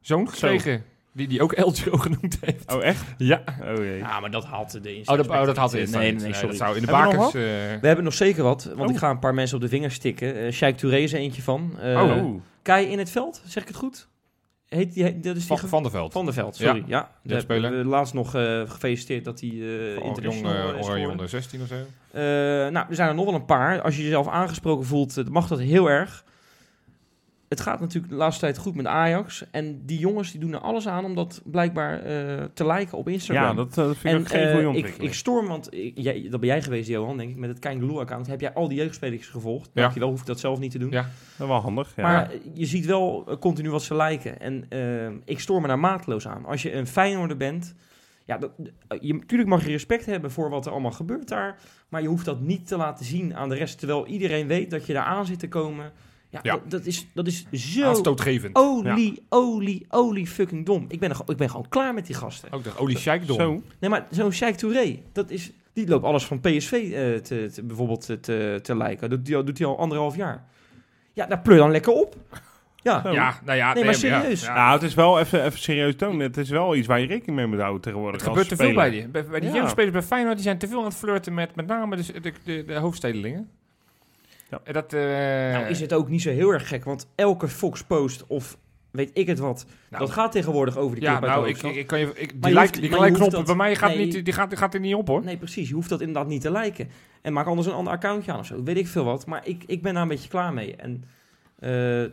S3: Zoon gekregen. Die die ook Eljo <laughs> genoemd heeft.
S1: Oh, echt?
S3: Ja.
S1: Oh jee.
S2: Ja, maar dat had de
S3: eh, Oh, dat, oh, dat had hij
S2: Nee, nee, nee,
S3: Dat
S2: sorry.
S3: zou in de
S1: Hebben we nog
S3: bakers... eh,
S2: We hebben nog zeker wat, want
S1: Oh.
S2: ik ga een paar mensen op de vingers tikken. Eh Sheikh Touré is er eentje van. Eh,
S1: oh,
S2: Kai in het veld, zeg ik het goed? Heet die, heet- dat is die
S3: van,
S2: ge-
S3: van der Veld.
S2: Van der Veld, sorry. Ja, daar
S3: speler.
S2: hebben we laatst nog eh, gefeliciteerd dat hij eh
S3: Van
S2: international
S3: Jong, eh,
S2: is
S3: Oranje
S2: geworden.
S3: onder 16 of zo.
S2: Eh, nou, er zijn er nog wel een paar. Als je jezelf aangesproken voelt, eh, mag dat heel erg. Het gaat natuurlijk de laatste tijd goed met Ajax. En die jongens die doen er alles aan om dat blijkbaar eh, te liken op Instagram.
S1: ja, dat eh, vind ik
S2: en,
S1: ook geen
S2: eh,
S1: goede
S2: ik,
S1: ontwikkeling.
S2: ik storm, want ik, jij, dat ben jij geweest, Johan, denk ik, met het Kangaloo-account. Heb jij al die jeugdspelers gevolgd?
S3: Ja.
S2: Dankjewel, hoef ik dat zelf niet te doen.
S3: Ja.
S1: Dat is wel handig, ja.
S2: Maar je ziet wel eh, continu wat ze lijken. En eh, ik stoor me daar maatloos aan. Als je een Feyenoorder bent... Ja, dat, eh, je, natuurlijk mag je respect hebben voor wat er allemaal gebeurt daar. Maar je hoeft dat niet te laten zien aan de rest. Terwijl iedereen weet dat je daar aan zit te komen. Ja,
S3: Ja.
S2: Dat, dat is, dat is zo
S3: Aanstootgevend.
S2: olie, olie, olie fucking dom. Ik ben, er, ik ben gewoon klaar met die gasten.
S3: Ook de Oli Scheikdom.
S1: Zo.
S2: Nee, maar zo'n Sheikh Touré, dat is, die loopt alles van PSV eh, te, te- bijvoorbeeld te, te, te lijken. Dat doet- doet hij al anderhalf jaar. Ja, daar pleur dan lekker op. Ja,
S3: Ja, nou ja.
S2: Nee, maar
S3: ja,
S2: serieus.
S3: ja.
S1: Ja, Nou, het is wel even, even serieus toon. Het is wel iets waar je rekening mee moet houden tegenwoordig.
S3: Het
S1: als
S3: gebeurt te veel
S1: speler.
S3: bij die, bij, bij die
S1: Ja.
S3: jeugdspelers bij Feyenoord. Die zijn te veel aan het flirten met met name dus de, de, de, de hoofdstedelingen.
S1: Ja.
S3: En dat, eh,
S2: Nou is het ook niet zo heel erg gek, want elke Fox post of weet ik het wat,
S3: Nou,
S2: dat gaat tegenwoordig over de
S3: ja,
S2: club uit
S3: nou,
S2: de
S3: ik,
S2: hoofdstad.
S3: ik, ik kan je, ik,
S2: Maar
S3: die
S2: je hoeft- maar
S3: like, die
S2: je hoeft
S3: like-knoppen
S2: dat-
S3: bij mij gaat,
S2: nee.
S3: niet, die gaat, die gaat er niet op, hoor.
S2: Nee, precies. Je hoeft dat inderdaad niet te lijken. En maak anders een ander accountje aan of zo. Weet ik veel wat. Maar ik, ik ben daar een beetje klaar mee. En eh,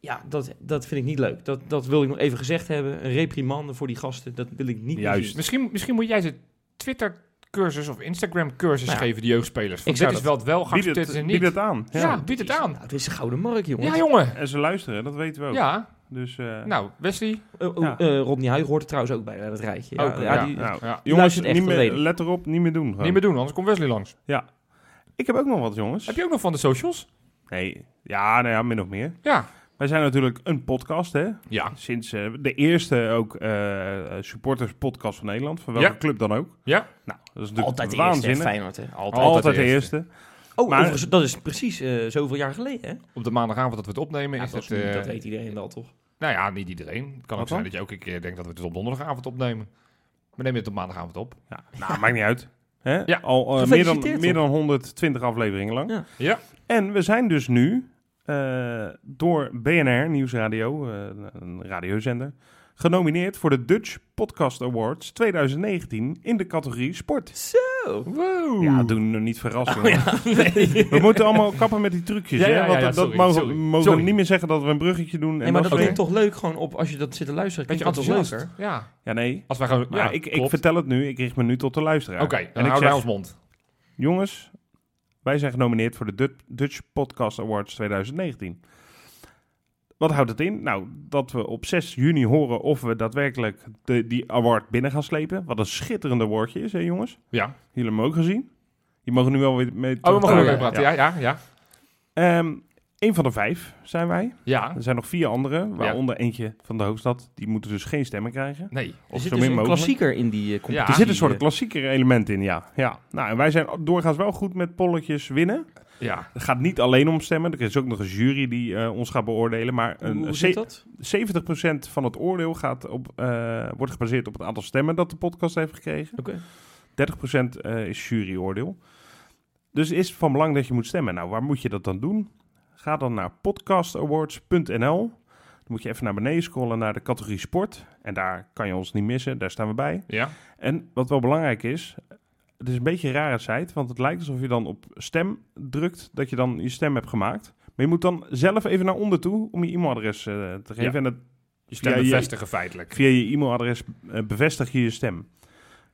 S2: ja, dat, dat vind ik niet leuk. Dat, dat wil ik nog even gezegd hebben. Een reprimande voor die gasten, dat wil ik niet meer
S1: Juist.
S2: zien.
S3: Misschien, misschien moet jij ze Twitter-cursus of Instagram-cursus
S2: Nou ja.
S3: geven, die jeugdspelers.
S2: Ik
S3: Want
S2: zou
S3: dit is wel het wel
S1: Bied
S3: geaccepteerd
S1: het,
S3: en
S1: bied
S3: niet.
S1: het aan. Ja.
S3: ja, bied het aan.
S2: Nou, het is een gouden markt, jongens.
S3: Ja, jongen.
S1: En ze luisteren, dat weten we ook.
S3: Ja,
S1: Dus, eh,
S3: nou, Wesley.
S2: Eh, oh,
S1: Ja.
S2: eh, Rodney Huij hoort er trouwens ook bij, bij dat rijtje. Ja,
S3: Ook,
S2: ja,
S3: ja.
S2: die-
S1: nou,
S3: Ja.
S1: jongens,
S2: luistert echt,
S1: niet
S2: dat weet
S1: meer,
S2: ik.
S1: let erop, niet meer doen. gewoon.
S3: Niet meer doen, anders komt Wesley langs.
S1: Ik heb ook nog wat, jongens.
S3: Heb je ook nog van de socials?
S1: Nee, ja, nou ja, min of meer.
S3: Ja.
S1: Wij zijn natuurlijk een podcast, hè.
S3: Ja.
S1: Sinds eh, de eerste ook eh supporters podcast van Nederland. Van welke
S3: Ja.
S1: club dan ook.
S3: Ja.
S1: Nou, dat is natuurlijk
S2: Altijd de eerste, hè,
S1: waanzinnig.
S2: Feyenoord, hè. Altijd.
S1: Altijd, de
S3: Altijd de
S1: eerste.
S2: Oh,
S1: Maar-
S2: overigens, dat is precies eh, zoveel jaar geleden, hè?
S3: Op de maandagavond dat we het opnemen
S2: Ja,
S3: is
S2: dat,
S3: het...
S2: is niet-
S3: eh,
S2: dat weet iedereen wel, toch?
S3: Nou ja, niet iedereen. Het kan
S1: Wat
S3: ook zijn
S1: dan?
S3: dat je ook een keer denkt dat we het op donderdagavond opnemen. We nemen het op maandagavond op.
S1: Ja, nou, maakt niet uit. Hè?
S3: Ja.
S1: Al eh, meer, dan,
S2: Gefeliciteerd,
S1: meer dan 120 afleveringen lang.
S2: Ja.
S3: Ja.
S1: En we zijn dus nu eh, door BNR Nieuwsradio, eh, een radiozender, genomineerd voor de Dutch Podcast Awards 2019 in de categorie sport.
S2: Zo!
S3: Wow.
S1: Ja, doen we niet verrassen. We moeten allemaal kappen met die trucjes.
S3: Oh, Ja,
S1: hè?
S3: ja, ja,
S1: Want
S3: ja,
S1: dat, dat
S3: sorry,
S1: mogen,
S3: sorry.
S1: mogen
S3: Sorry.
S1: we niet meer zeggen dat we een bruggetje doen. En
S2: Nee, maar
S1: dat
S2: dat
S1: soort
S2: klinkt toch leuk gewoon op als je dat zit te luisteren.
S3: Beetje
S2: klinkt dat toch
S3: enthousiast.
S2: leuker?
S3: Ja.
S1: dingen. Ja, nee.
S3: Als wij gewoon...
S1: Maar
S3: ja,
S1: ik, ik
S3: klopt.
S1: vertel het nu. Ik richt me nu tot de luisteraar.
S3: Oké,
S1: en
S3: dan
S1: ik
S3: houden wij
S1: zeg,
S3: ons mond.
S1: jongens, wij zijn genomineerd voor de Dut- Dutch Podcast Awards 2019. Wat houdt het in? Nou, dat we op 6 juni horen of we daadwerkelijk de, die award binnen gaan slepen. Wat een schitterende awardje is, hè jongens?
S3: Ja.
S1: Jullie hebben hem ook gezien. Je mogen nu wel weer mee
S3: Oh, we mogen
S1: terugkomen.
S3: ook even praten. Ja, ja, ja.
S1: Ja. Ehm, een van de vijf zijn wij.
S3: Ja.
S1: Er zijn nog vier andere, waaronder eentje van de hoofdstad. Die moeten dus geen stemmen krijgen.
S3: Nee.
S2: Er
S1: Of
S2: zit
S1: zo
S2: dus
S1: min
S2: een
S1: mogelijk.
S2: klassieker in die eh,
S3: Ah,
S2: competitie.
S1: er zit een soort
S2: eh.
S1: klassieker element in, ja. ja. Nou, en wij zijn doorgaans wel goed met polletjes winnen.
S3: Ja.
S1: Het gaat niet alleen om stemmen. Er is ook nog een jury die eh, ons gaat beoordelen. Maar
S2: Hoe, hoe
S1: een,
S2: zit
S1: ze-
S2: dat?
S1: 70% van het oordeel gaat op, eh, wordt gebaseerd op het aantal stemmen dat de podcast heeft gekregen.
S2: Oké.
S1: 30% eh, is juryoordeel. Dus is het van belang dat je moet stemmen. Nou, waar moet je dat dan doen? Ga dan naar podcastawards.nl. Dan moet je even naar beneden scrollen naar de categorie sport. En daar kan je ons niet missen, daar staan we bij.
S3: Ja.
S1: En wat wel belangrijk is, het is een beetje een rare site, want het lijkt alsof je dan op stem drukt, dat je dan je stem hebt gemaakt. Maar je moet dan zelf even naar onder toe om je e-mailadres eh, te geven.
S3: Ja.
S1: En dat
S3: Je stem
S1: Ja, je-
S3: bevestigen feitelijk.
S1: via je e-mailadres eh, bevestig je je stem.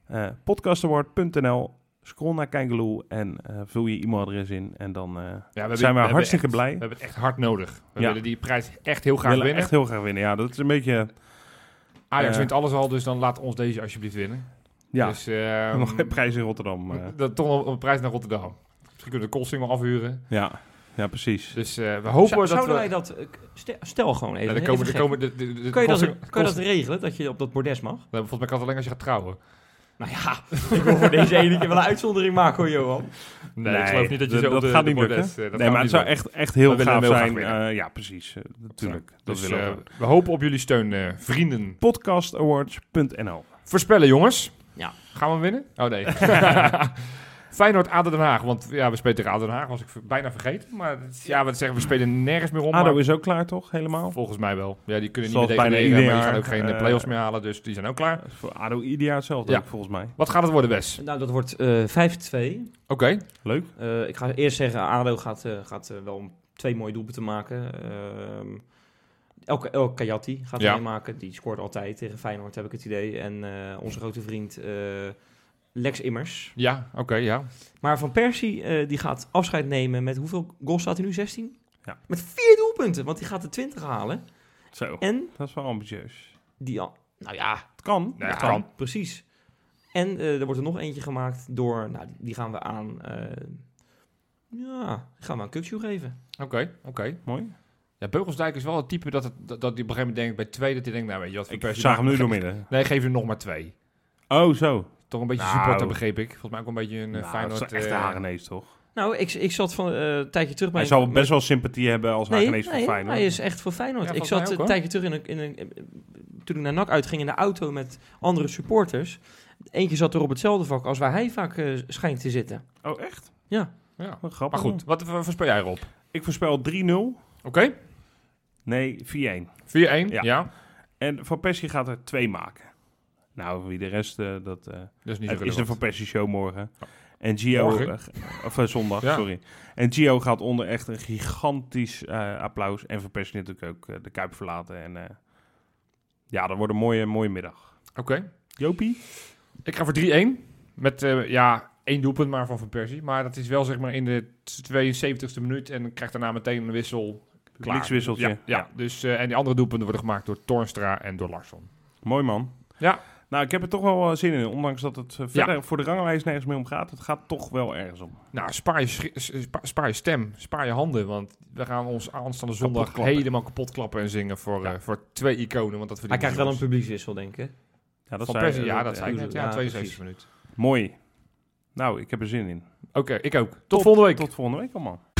S1: Eh podcastaward.nl, scroll naar Kijkeloel en eh, vul je e-mailadres in. En dan eh,
S3: Ja, we hebben-
S1: zijn we,
S3: hebben
S1: hartstikke
S3: echt-
S1: blij.
S3: We hebben het echt hard nodig. We
S1: Ja.
S3: willen die prijs echt heel
S1: We
S3: graag
S1: willen
S3: winnen.
S1: echt heel graag winnen. Ja, dat is een beetje...
S3: Ajax
S1: eh,
S3: wint alles al, dus dan laat ons deze alsjeblieft winnen.
S1: Ja,
S3: Dus,
S1: <laughs>
S3: ehm,
S1: nog een prijs in Rotterdam.
S3: <laughs>
S1: eh.
S3: dat, toch nog een prijs naar Rotterdam. Misschien kunnen we de Kolsing wel afhuren.
S1: ja. ja, precies.
S3: Dus eh, we hopen
S2: Zou-
S3: dat
S2: zouden
S3: we...
S2: wij dat... eh, k- stel- Stel gewoon
S3: Ja,
S2: even.
S3: dan
S2: hè,
S3: komen,
S2: even
S3: dan
S2: gek.
S3: komen de, de, de, de
S2: Kan je, dat,
S3: Kolsing-
S2: kan je dat
S3: Kolsing-
S2: regelen, dat je op dat bordes mag?
S3: Nou, Volgens mij kan het alleen als je gaat trouwen.
S2: Nou ja, ik wil voor deze ene keer wel een uitzondering maken hoor, Johan.
S3: Nee, ik geloof niet dat je
S1: d-
S3: zo op
S1: dat
S3: de-
S1: gaat
S3: de
S1: niet lukken.
S3: bordes, eh, dat
S1: nee,
S3: gaat
S1: maar
S3: niet
S1: het zou
S3: lukken.
S1: echt, echt heel
S3: We willen
S1: gaaf
S3: hem heel
S1: zijn.
S3: graag winnen.
S1: Eh, ja, precies. eh, natuurlijk. Dat
S3: Dus,
S1: willen
S3: eh,
S1: we.
S3: we hopen op jullie steun, eh, vrienden.
S1: Podcastawards.nl
S3: Voorspellen, jongens.
S2: Ja.
S3: Gaan we hem winnen? Oh
S2: <laughs>
S3: nee. <laughs> Feyenoord, ADO Den Haag. Want ja, we spelen tegen ADO Den Haag. Was ik ver- bijna vergeten. Maar het- ja, we zeggen, we spelen nergens meer om.
S1: ADO
S3: maar
S1: is ook klaar, toch? Helemaal?
S3: Volgens mij wel. Ja, die kunnen
S1: Zoals
S3: niet meer
S1: bijna
S3: degraderen.
S1: ieder
S3: Maar die gaan
S1: jaar,
S3: ook geen eh,
S1: eh,
S3: play-offs meer halen. Dus die zijn ook klaar.
S1: Voor ADO ieder jaar hetzelfde,
S3: Ja.
S1: ook, volgens mij.
S3: Wat gaat het worden, Wes?
S2: Nou, dat wordt eh 5-2.
S3: Oké.
S1: Leuk.
S2: Eh, ik ga eerst zeggen, ADO gaat, eh, gaat eh, wel twee mooie doelpunten maken. Ehm El, El Kayati gaat
S3: Ja.
S2: hij maken. Die scoort altijd tegen Feyenoord, heb ik het idee. En eh, onze grote vriend eh, Lex Immers.
S3: Ja, oké, ja.
S2: Maar Van Persie, eh, die gaat afscheid nemen met hoeveel goals staat hij nu? 16?
S1: Ja.
S2: Met vier doelpunten, want die gaat de 20 halen.
S1: Zo.
S2: En
S1: Dat is wel ambitieus.
S2: die... al- Nou ja,
S1: Het kan.
S3: Nou ja,
S1: het kan.
S3: kan.
S2: precies. En eh, er wordt er nog eentje gemaakt door... Nou, die- die gaan we aan... eh, ja, die gaan we aan Kukshoe geven.
S3: Oké, oké.
S1: Mooi.
S3: Ja, Beugelsdijk is wel het type dat, het, dat, dat die op een gegeven moment denkt bij twee... Dat hij denkt, nou weet je wat... Van
S1: Ik
S3: Persie
S1: zag
S3: maakt-
S1: hem nu door midden.
S3: Nee, geef hem nog maar twee.
S1: Oh, zo.
S3: Toch een beetje
S1: Nou.
S3: supporter, begreep ik. Volgens mij ook een beetje een eh,
S1: Nou,
S3: Feyenoord...
S1: dat is echt
S3: eh,
S1: een hagenees, toch?
S2: Nou, ik, ik zat van eh, een tijdje terug bij...
S1: Hij zal best wel sympathie hebben als
S2: nee,
S1: hagenees voor
S2: nee,
S1: Feyenoord.
S2: hij is echt voor Feyenoord.
S3: Ja,
S2: ik
S3: volgens mij
S2: zat
S3: ook,
S2: een
S3: hoor.
S2: tijdje terug in een, in een... eh, Toen ik naar NAC uitging in de auto met andere supporters. Eentje zat er op hetzelfde vak als waar hij vaak eh, schijnt te zitten.
S1: Oh, echt?
S3: ja.
S1: Wat grappig.
S3: Maar goed, wat eh, voorspel jij Rob?
S1: Ik voorspel 3-0.
S3: Oké,
S1: Nee, 4-1.
S3: 4-1. Ja.
S1: Ja. En Van Persie gaat er twee maken. Nou, wie de rest, eh, dat eh,
S3: dat is niet
S1: het
S3: zo
S1: is de
S3: relevant.
S1: Van Persie show morgen. En Gio,
S3: Morgen?
S1: eh, of eh, zondag,
S3: Ja.
S1: sorry. En Gio gaat onder echt een gigantisch eh, applaus. En Van Persie natuurlijk ook eh, de Kuip verlaten. En eh, ja, dat wordt een mooie, mooie middag.
S3: Oké,
S1: Jopie?
S3: ik ga voor 3-1. Met, eh, ja, één doelpunt maar van Van Persie. Maar dat is wel zeg maar in de 72e minuut en krijgt daarna meteen een wissel. Klaar.
S1: Publiekswisseltje.
S3: Ja, ja. Dus, eh, en die andere doelpunten worden gemaakt door Tornstra en door Larsson.
S1: Mooi man.
S3: Ja.
S1: Nou, ik heb er toch wel eh, zin in. Ondanks dat het eh, verder voor de ranglijst nergens meer om gaat. Het gaat toch wel ergens om.
S3: Nou, spaar je, schri- s- spa- spaar je stem, spaar je handen. Want we gaan ons aanstaande zondag
S1: Kapot klappen.
S3: helemaal kapot klappen en zingen voor, eh, voor twee iconen. Want dat
S2: Hij
S3: verdienen
S2: krijgt
S3: ze
S2: wel een
S3: ons.
S2: publiekswissel, denk ik.
S1: Ja, dat
S3: Van
S1: zei-
S3: Persie, ja,
S1: eh,
S3: dat zei ik net. Ja,
S2: Ja,
S3: 72 minuut.
S1: Mooi. Nou, ik heb er zin in.
S3: Oké, ik ook. Tot, volgende week.
S1: Tot volgende week allemaal.